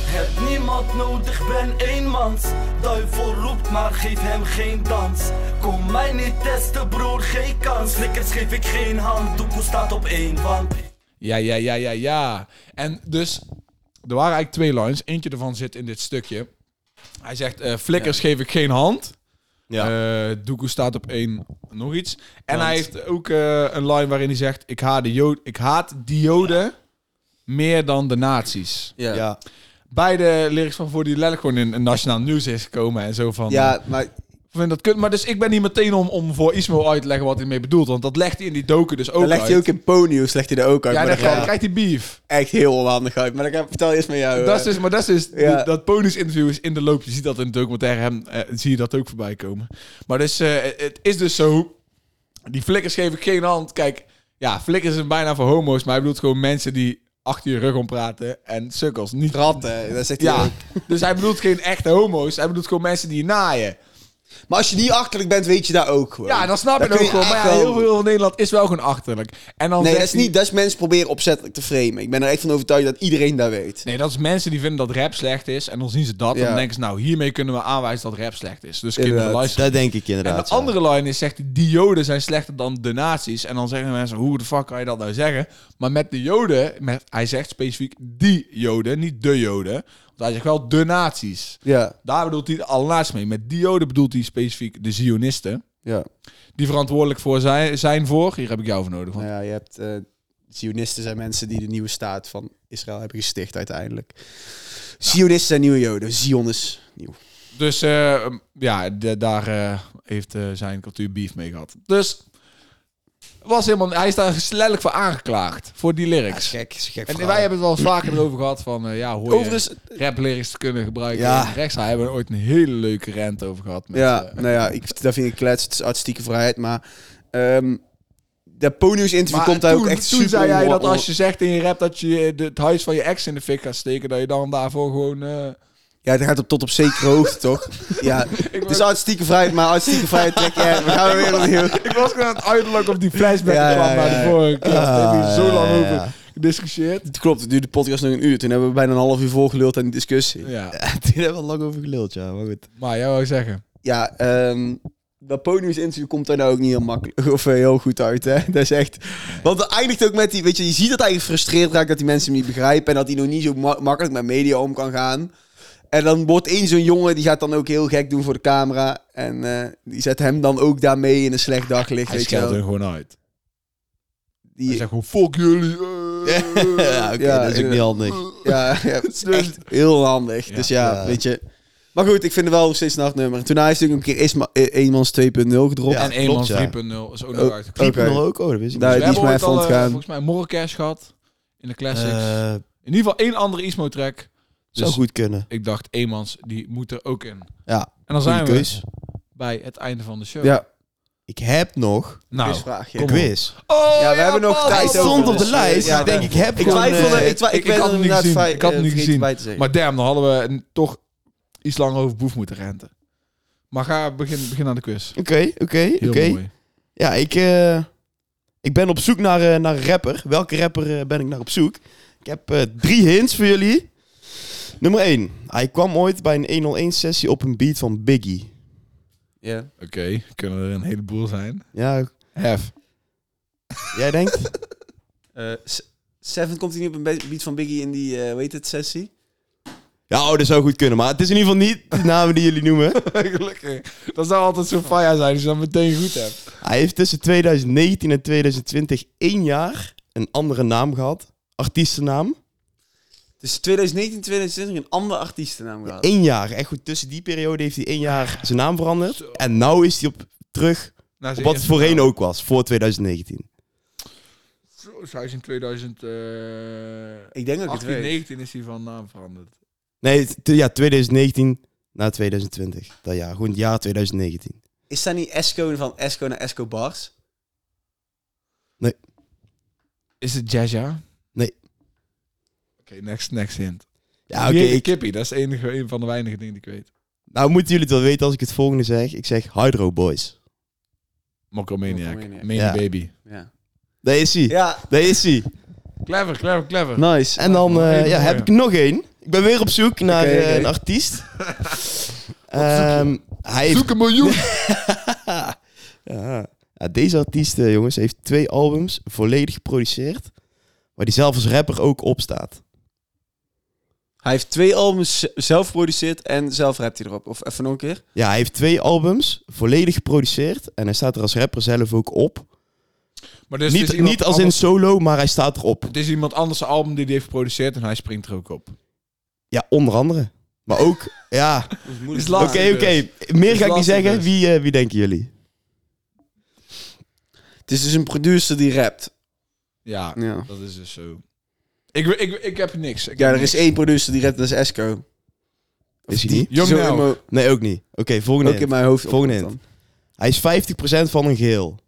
Speaker 4: Heb niemand nodig, ben eenmans. Duivel roept, maar geef hem geen dans. Kom mij niet testen, broer, geen kans. Flikkers geef ik geen hand, Doekoe staat op één, want...
Speaker 1: Ja, ja, ja, ja, ja. En dus, er waren eigenlijk twee lines. Eentje ervan zit in dit stukje. Hij zegt, eh, flikkers geef ik geen hand. Ja. Doekoe staat op één, nog iets. En hij heeft ook eh, een line waarin hij zegt... Ik haat, de Jood- ik haat dioden meer dan de nazi's.
Speaker 2: Ja. Ja.
Speaker 3: Ja.
Speaker 1: Beide lyrics van voor die letterlijk gewoon in, in nationaal nieuws is gekomen en zo van...
Speaker 2: maar
Speaker 1: vind dat kut. Maar dus ik ben niet meteen om, om voor Ismo uit te leggen wat hij mee bedoelt. Want dat legt hij in die doken dus ook
Speaker 2: Dan legt
Speaker 1: uit.
Speaker 2: hij ook in ponyhoes, legt hij er ook uit.
Speaker 1: ja,
Speaker 2: maar
Speaker 1: dan
Speaker 2: dat gaat
Speaker 1: krijgt hij beef.
Speaker 2: echt heel onhandig uit. Maar dan ga, vertel eerst met jou.
Speaker 1: Dat is
Speaker 2: eh,
Speaker 1: dus, maar dat is dus,
Speaker 2: Ja.
Speaker 1: de- dat ponies-interview is in de loop. Je ziet dat in de documentaire, hem, eh, zie je dat ook voorbij komen. Maar dus, eh, het is dus zo, die flikkers geef ik geen hand. Kijk, ja, flikkers zijn bijna voor homo's, maar hij bedoelt gewoon mensen die achter je rug om praten en sukkels. Niet
Speaker 2: ratten. Dat zegt hij
Speaker 1: dus- Ja,
Speaker 2: ook.
Speaker 1: dus hij bedoelt geen echte homo's, hij bedoelt gewoon mensen die je naaien.
Speaker 2: Maar als je niet achterlijk bent, weet je dat ook gewoon.
Speaker 1: Ja, dan snap je
Speaker 2: kun
Speaker 1: het ook wel. Maar
Speaker 2: echt
Speaker 1: ja,
Speaker 2: wel-
Speaker 1: heel veel van Nederland is wel gewoon achterlijk. En dan
Speaker 2: Nee, dat
Speaker 1: zegt
Speaker 2: is
Speaker 1: hij-
Speaker 2: niet. Dat is mensen proberen opzettelijk te framen. Ik ben er echt van overtuigd dat iedereen dat weet.
Speaker 1: Nee, dat is mensen die vinden dat rap slecht is. En dan zien ze dat. En
Speaker 2: Ja.
Speaker 1: dan denken ze, nou, hiermee kunnen we aanwijzen dat rap slecht is. Dus kinderen
Speaker 2: Inderdaad.
Speaker 1: luisteren.
Speaker 3: Dat denk ik
Speaker 1: En de
Speaker 3: inderdaad. ja.
Speaker 1: andere line is, zegt hij, die joden zijn slechter dan de nazi's. En dan zeggen mensen, hoe de fuck kan je dat nou zeggen? Maar met de joden, met, hij zegt specifiek die joden, niet de joden. Want hij zegt wel de nazi's.
Speaker 2: Ja,
Speaker 1: Daar bedoelt hij het allerlaatst mee. Met die joden bedoelt hij specifiek de zionisten.
Speaker 2: ja.
Speaker 1: Die verantwoordelijk voor zijn, zijn voor... Hier heb ik jou voor nodig. Want
Speaker 2: Nou ja, je hebt... eh, Zionisten zijn mensen die de nieuwe staat van Israël hebben gesticht uiteindelijk.
Speaker 1: Nou.
Speaker 2: Zionisten zijn nieuwe joden. Zion is nieuw.
Speaker 1: Dus eh, ja, de- daar eh, heeft eh, zijn cultuur beef mee gehad. Dus was helemaal, hij is daar letterlijk voor aangeklaagd. Voor die lyrics.
Speaker 2: Gek, is een gek
Speaker 1: en
Speaker 2: verhaal.
Speaker 1: wij hebben het wel eens vaker erover gehad van... eh, ja, hoor je
Speaker 2: Overigens,
Speaker 1: rap lyrics te kunnen gebruiken
Speaker 2: Ja.
Speaker 1: in rechts. Daar hebben we ooit een hele leuke rant over gehad. Met,
Speaker 2: ja,
Speaker 1: eh,
Speaker 2: nou ja, ik, dat vind ik klets. Het is artistieke vrijheid, maar... ehm dat Ponius interview
Speaker 1: maar
Speaker 2: komt daar
Speaker 1: toen,
Speaker 2: ook echt
Speaker 1: toen
Speaker 2: super
Speaker 1: zei jij
Speaker 2: onwa-
Speaker 1: dat als je zegt in je rap dat je eh, de- het huis van je ex in de fik gaat steken, dat je dan daarvoor gewoon... eh,
Speaker 2: Ja, het gaat op, tot op zekere hoogte, toch? Ja, het is artistieke vrijheid, maar artistieke vrijheid trek je... We gaan weer opnieuw.
Speaker 1: Ik was gewoon aan het uitlokken op die flashback
Speaker 2: Ja,
Speaker 1: kwam
Speaker 2: ja,
Speaker 1: naar
Speaker 2: ja.
Speaker 1: de vorige keer. Daar hebben we zo
Speaker 3: Ah,
Speaker 1: lang
Speaker 3: ja, ja.
Speaker 1: over gediscussieerd.
Speaker 2: Het klopt, het duurde de podcast nog een uur. Toen hebben we bijna een half uur volgeluld aan die discussie.
Speaker 1: Ja.
Speaker 3: Toen hebben we lang over geluld, ja. Maar goed.
Speaker 1: Maar jij wou zeggen.
Speaker 2: Ja, ehm dat Ponius interview komt daar nou ook niet heel makkelijk of eh, heel goed uit. Hè? Dat is echt. Want het eindigt ook met die. Weet je, je ziet dat hij gefrustreerd raakt dat die mensen hem niet begrijpen. En dat hij nog niet zo ma- makkelijk met media om kan gaan. En dan wordt één zo'n jongen die gaat dan ook heel gek doen voor de camera. En eh, die zet hem dan ook daarmee in een slecht daglicht.
Speaker 1: Hij
Speaker 2: weet je
Speaker 1: scheldt
Speaker 2: wel.
Speaker 1: hun gewoon uit. Hij
Speaker 2: Die,
Speaker 1: zegt gewoon, fuck jullie. eh.
Speaker 3: ja, oké,
Speaker 2: Ja,
Speaker 3: dat is ook
Speaker 2: inderdaad.
Speaker 3: niet handig.
Speaker 2: Ja, ja het is echt heel handig.
Speaker 1: Dus- Ja.
Speaker 2: dus ja,
Speaker 3: Ja.
Speaker 2: weet je. Maar goed, ik vind het wel nog steeds een nachtnummer. En toen heeft hij natuurlijk een keer Isma eh, Eenmans 2.0 gedropt.
Speaker 3: Ja,
Speaker 1: en Eenmans
Speaker 3: klopt, ja.
Speaker 1: 3.0 is ook
Speaker 2: Oh,
Speaker 1: nog uitgekomen.
Speaker 2: oké.
Speaker 3: Oké. ook, oh, dat wist ik
Speaker 2: Nou,
Speaker 1: We
Speaker 2: die is
Speaker 1: hebben
Speaker 2: mij
Speaker 1: ooit
Speaker 2: even
Speaker 1: al, eh,
Speaker 2: ontgaan.
Speaker 1: volgens mij Morrelcash gehad in de
Speaker 3: niet.
Speaker 1: classics.
Speaker 3: Eh,
Speaker 1: in ieder geval één andere Ismo-track. Dus
Speaker 3: zou goed kunnen.
Speaker 1: ik dacht, Eemans, die moet er ook in.
Speaker 3: Ja,
Speaker 1: En dan
Speaker 3: goede
Speaker 1: zijn we
Speaker 3: keus.
Speaker 1: bij het einde van de show.
Speaker 2: Ja,
Speaker 3: Ik heb nog
Speaker 1: Nou.
Speaker 2: quizvraagje.
Speaker 3: een
Speaker 1: Kom op.
Speaker 3: quiz.
Speaker 1: Oh,
Speaker 2: Ja, we hebben nog
Speaker 1: Paul,
Speaker 2: tijd
Speaker 3: Hij
Speaker 1: Paul, Paul.
Speaker 2: over.
Speaker 3: stond op
Speaker 2: dus,
Speaker 3: de lijst.
Speaker 2: ja,
Speaker 3: ik denk, ik heb
Speaker 2: Ik
Speaker 3: gewoon,
Speaker 2: twijfelde,
Speaker 3: eh,
Speaker 2: ik, twa-
Speaker 1: ik-
Speaker 2: ik,
Speaker 1: ik
Speaker 2: ben
Speaker 1: had
Speaker 2: er
Speaker 1: hem niet
Speaker 2: inderdaad
Speaker 1: gezien.
Speaker 2: fei-
Speaker 1: Ik had hem
Speaker 2: eh,
Speaker 1: niet
Speaker 2: vergeten
Speaker 1: gezien.
Speaker 2: bij te zeggen.
Speaker 1: Maar damn, dan hadden we een- toch iets langer over boef moeten renten. Maar ga, begin, begin aan de quiz.
Speaker 3: Oké, oké,
Speaker 1: Heel
Speaker 3: oké.
Speaker 1: mooi.
Speaker 3: Ja, ik, eh, ik ben op zoek naar, eh, naar een rapper. Welke rapper eh, ben ik naar op zoek? Ik heb eh, drie hints voor jullie. Nummer 1. Hij kwam ooit bij een 101-sessie op een beat van Biggie.
Speaker 2: Ja.
Speaker 1: Oké, kunnen er een heleboel zijn.
Speaker 3: Ja,
Speaker 1: Hef.
Speaker 3: jij denkt?
Speaker 2: Eh, S- Seven komt hij niet op een be- beat van Biggie in die, eh hoe heet het, sessie?
Speaker 3: Ja, oh, dat zou goed kunnen. Maar het is in ieder geval niet de namen die jullie noemen.
Speaker 1: Gelukkig. Dat zou altijd zo'n faya zijn als je dat meteen goed hebt.
Speaker 3: Hij heeft tussen 2019 en 2020 één jaar een andere naam gehad. Artiestennaam.
Speaker 2: Dus 2019, 2020 een andere artiestennaam gehad.
Speaker 3: Eén jaar. Echt goed, tussen die periode heeft hij één jaar zijn naam veranderd. En nou is hij op, terug
Speaker 1: Nou,
Speaker 3: op wat het voorheen ook was, voor 2019.
Speaker 1: Zij is in 2018,
Speaker 2: Ik denk dat ik het weet.
Speaker 1: 19 is hij van naam veranderd.
Speaker 3: Nee, t- ja, 2019 naar 2020. Dat jaar, gewoon het jaar 2019.
Speaker 2: Is dat niet Esco van Esco naar Esco Bars?
Speaker 1: Is het Jaja?
Speaker 3: Nee.
Speaker 1: Oké, next, next hint.
Speaker 3: Ja, oké.
Speaker 1: Jeetje,
Speaker 3: ik-
Speaker 1: Kippie, dat is het enige, een van de weinige dingen die ik weet.
Speaker 3: nou, moeten jullie het wel weten als ik het volgende zeg. Ik zeg Hydro Boys.
Speaker 1: Mokromaniac.
Speaker 2: Mokromaniac.
Speaker 1: Mini
Speaker 3: Ja.
Speaker 1: Baby.
Speaker 2: Ja.
Speaker 3: Daar is hij.
Speaker 2: Ja,
Speaker 3: Daar is hij.
Speaker 1: Clever, clever, clever.
Speaker 2: nice.
Speaker 3: En dan eh,
Speaker 1: Hele
Speaker 3: ja, heb ik
Speaker 1: mooie.
Speaker 3: er nog één. Ik ben weer op zoek naar
Speaker 2: Oké,
Speaker 3: eh,
Speaker 2: oké.
Speaker 3: een artiest. Ehm, hij heeft
Speaker 1: Zoek een miljoen.
Speaker 3: Ja. Ja, deze artiest, eh, jongens, heeft twee albums volledig geproduceerd. Waar die zelf als rapper ook op staat.
Speaker 2: Hij heeft twee albums z- zelf geproduceerd en zelf rapt hij erop. Of even nog een keer.
Speaker 3: Ja, hij heeft twee albums volledig geproduceerd. En hij staat er als rapper zelf ook op.
Speaker 1: Maar dus het is
Speaker 3: niet,
Speaker 1: iemand
Speaker 3: niet als in
Speaker 1: anders-
Speaker 3: solo, maar hij staat erop.
Speaker 1: Het is iemand anders' album die hij heeft geproduceerd en hij springt er ook op.
Speaker 3: Ja, onder andere. Maar ook, ja.
Speaker 1: Is
Speaker 3: Oké,
Speaker 1: lastig
Speaker 3: oké.
Speaker 1: dus.
Speaker 3: Meer
Speaker 1: Is
Speaker 3: ga ik niet
Speaker 1: lastig
Speaker 3: zeggen.
Speaker 1: dus.
Speaker 3: Wie, eh, wie denken jullie?
Speaker 2: Het is dus een producer die rapt.
Speaker 1: Ja,
Speaker 2: Ja,
Speaker 1: dat is dus zo. Ik, ik, ik heb niks. Ik
Speaker 2: ja
Speaker 1: heb
Speaker 2: er is
Speaker 1: niks.
Speaker 2: één producer die rapt, dat is Esco.
Speaker 3: Is hij niet?
Speaker 1: Young
Speaker 2: Zo
Speaker 1: Nelk.
Speaker 2: in mijn-
Speaker 3: Nee, ook niet. Oké, volgende.
Speaker 2: Ook in
Speaker 3: hint.
Speaker 2: mijn hoofd.
Speaker 3: Volgende
Speaker 2: opkomt
Speaker 3: hint. Hij is 50% van een geheel.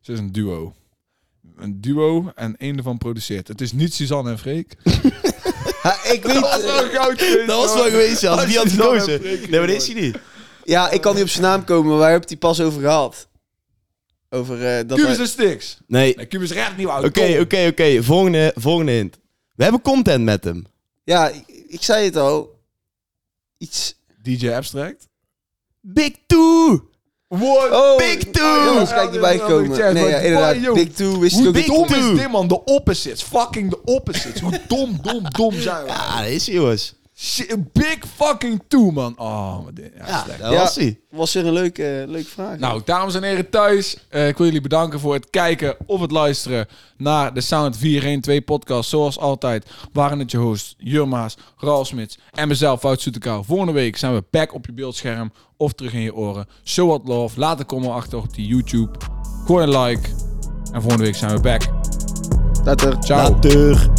Speaker 1: Ze is een duo. Een duo en één ervan produceert. Het is niet Suzanne en Freek.
Speaker 2: dan. Ha, ik weet...
Speaker 1: wel goud. geweest,
Speaker 3: Dat was
Speaker 1: hoor.
Speaker 3: wel geweest, ja. Als die had
Speaker 1: Suzanne en
Speaker 3: gekozen.
Speaker 1: Freek
Speaker 3: Nee, maar dat is hij niet.
Speaker 2: Ja, ik kan niet op zijn naam komen, maar waar heb je die pas over gehad? Over eh, dat...
Speaker 1: Cubus
Speaker 2: hij-
Speaker 1: en Stix.
Speaker 3: Nee.
Speaker 1: Nee, Cubus recht niet oud.
Speaker 3: Oké, oké, oké. Volgende volgende hint. We hebben content met hem.
Speaker 2: Ja, ik, ik zei het al. Iets...
Speaker 1: DJ Abstract.
Speaker 3: Big Two!
Speaker 1: Wow.
Speaker 2: Oh,
Speaker 3: Big Two!
Speaker 2: Jongens, kijk niet bij
Speaker 1: Ja,
Speaker 2: komen.
Speaker 1: ja,
Speaker 2: Nee, ja,
Speaker 1: ja, ja,
Speaker 2: inderdaad.
Speaker 1: joh.
Speaker 2: Big Two wist ik
Speaker 1: Hoe
Speaker 2: ook
Speaker 1: dom
Speaker 2: niet.
Speaker 3: Big Two.
Speaker 1: is dit man? De opposites. Fucking de opposites. Hoe dom, dom, dom zijn we.
Speaker 3: Ja, dat is hij, jongens.
Speaker 1: Shit, Big fucking two man. Oh, maar dit, ja,
Speaker 3: Ja,
Speaker 1: slecht.
Speaker 3: dat
Speaker 2: Ja.
Speaker 3: was hij.
Speaker 2: Was weer een leuke, eh, leuke vraag.
Speaker 1: Nou, dames en heren thuis, eh, ik wil jullie bedanken voor het kijken of het luisteren naar de Sound 412 podcast. Zoals altijd waren het je hosts Jurma's, Ralf Smits en mezelf, Wout Soetekau. Volgende week zijn we back op je beeldscherm of terug in je oren. So what love, laat een comment achter op die YouTube. Gooi een like en volgende week zijn we back.
Speaker 2: Later.
Speaker 1: Ciao.
Speaker 3: Later.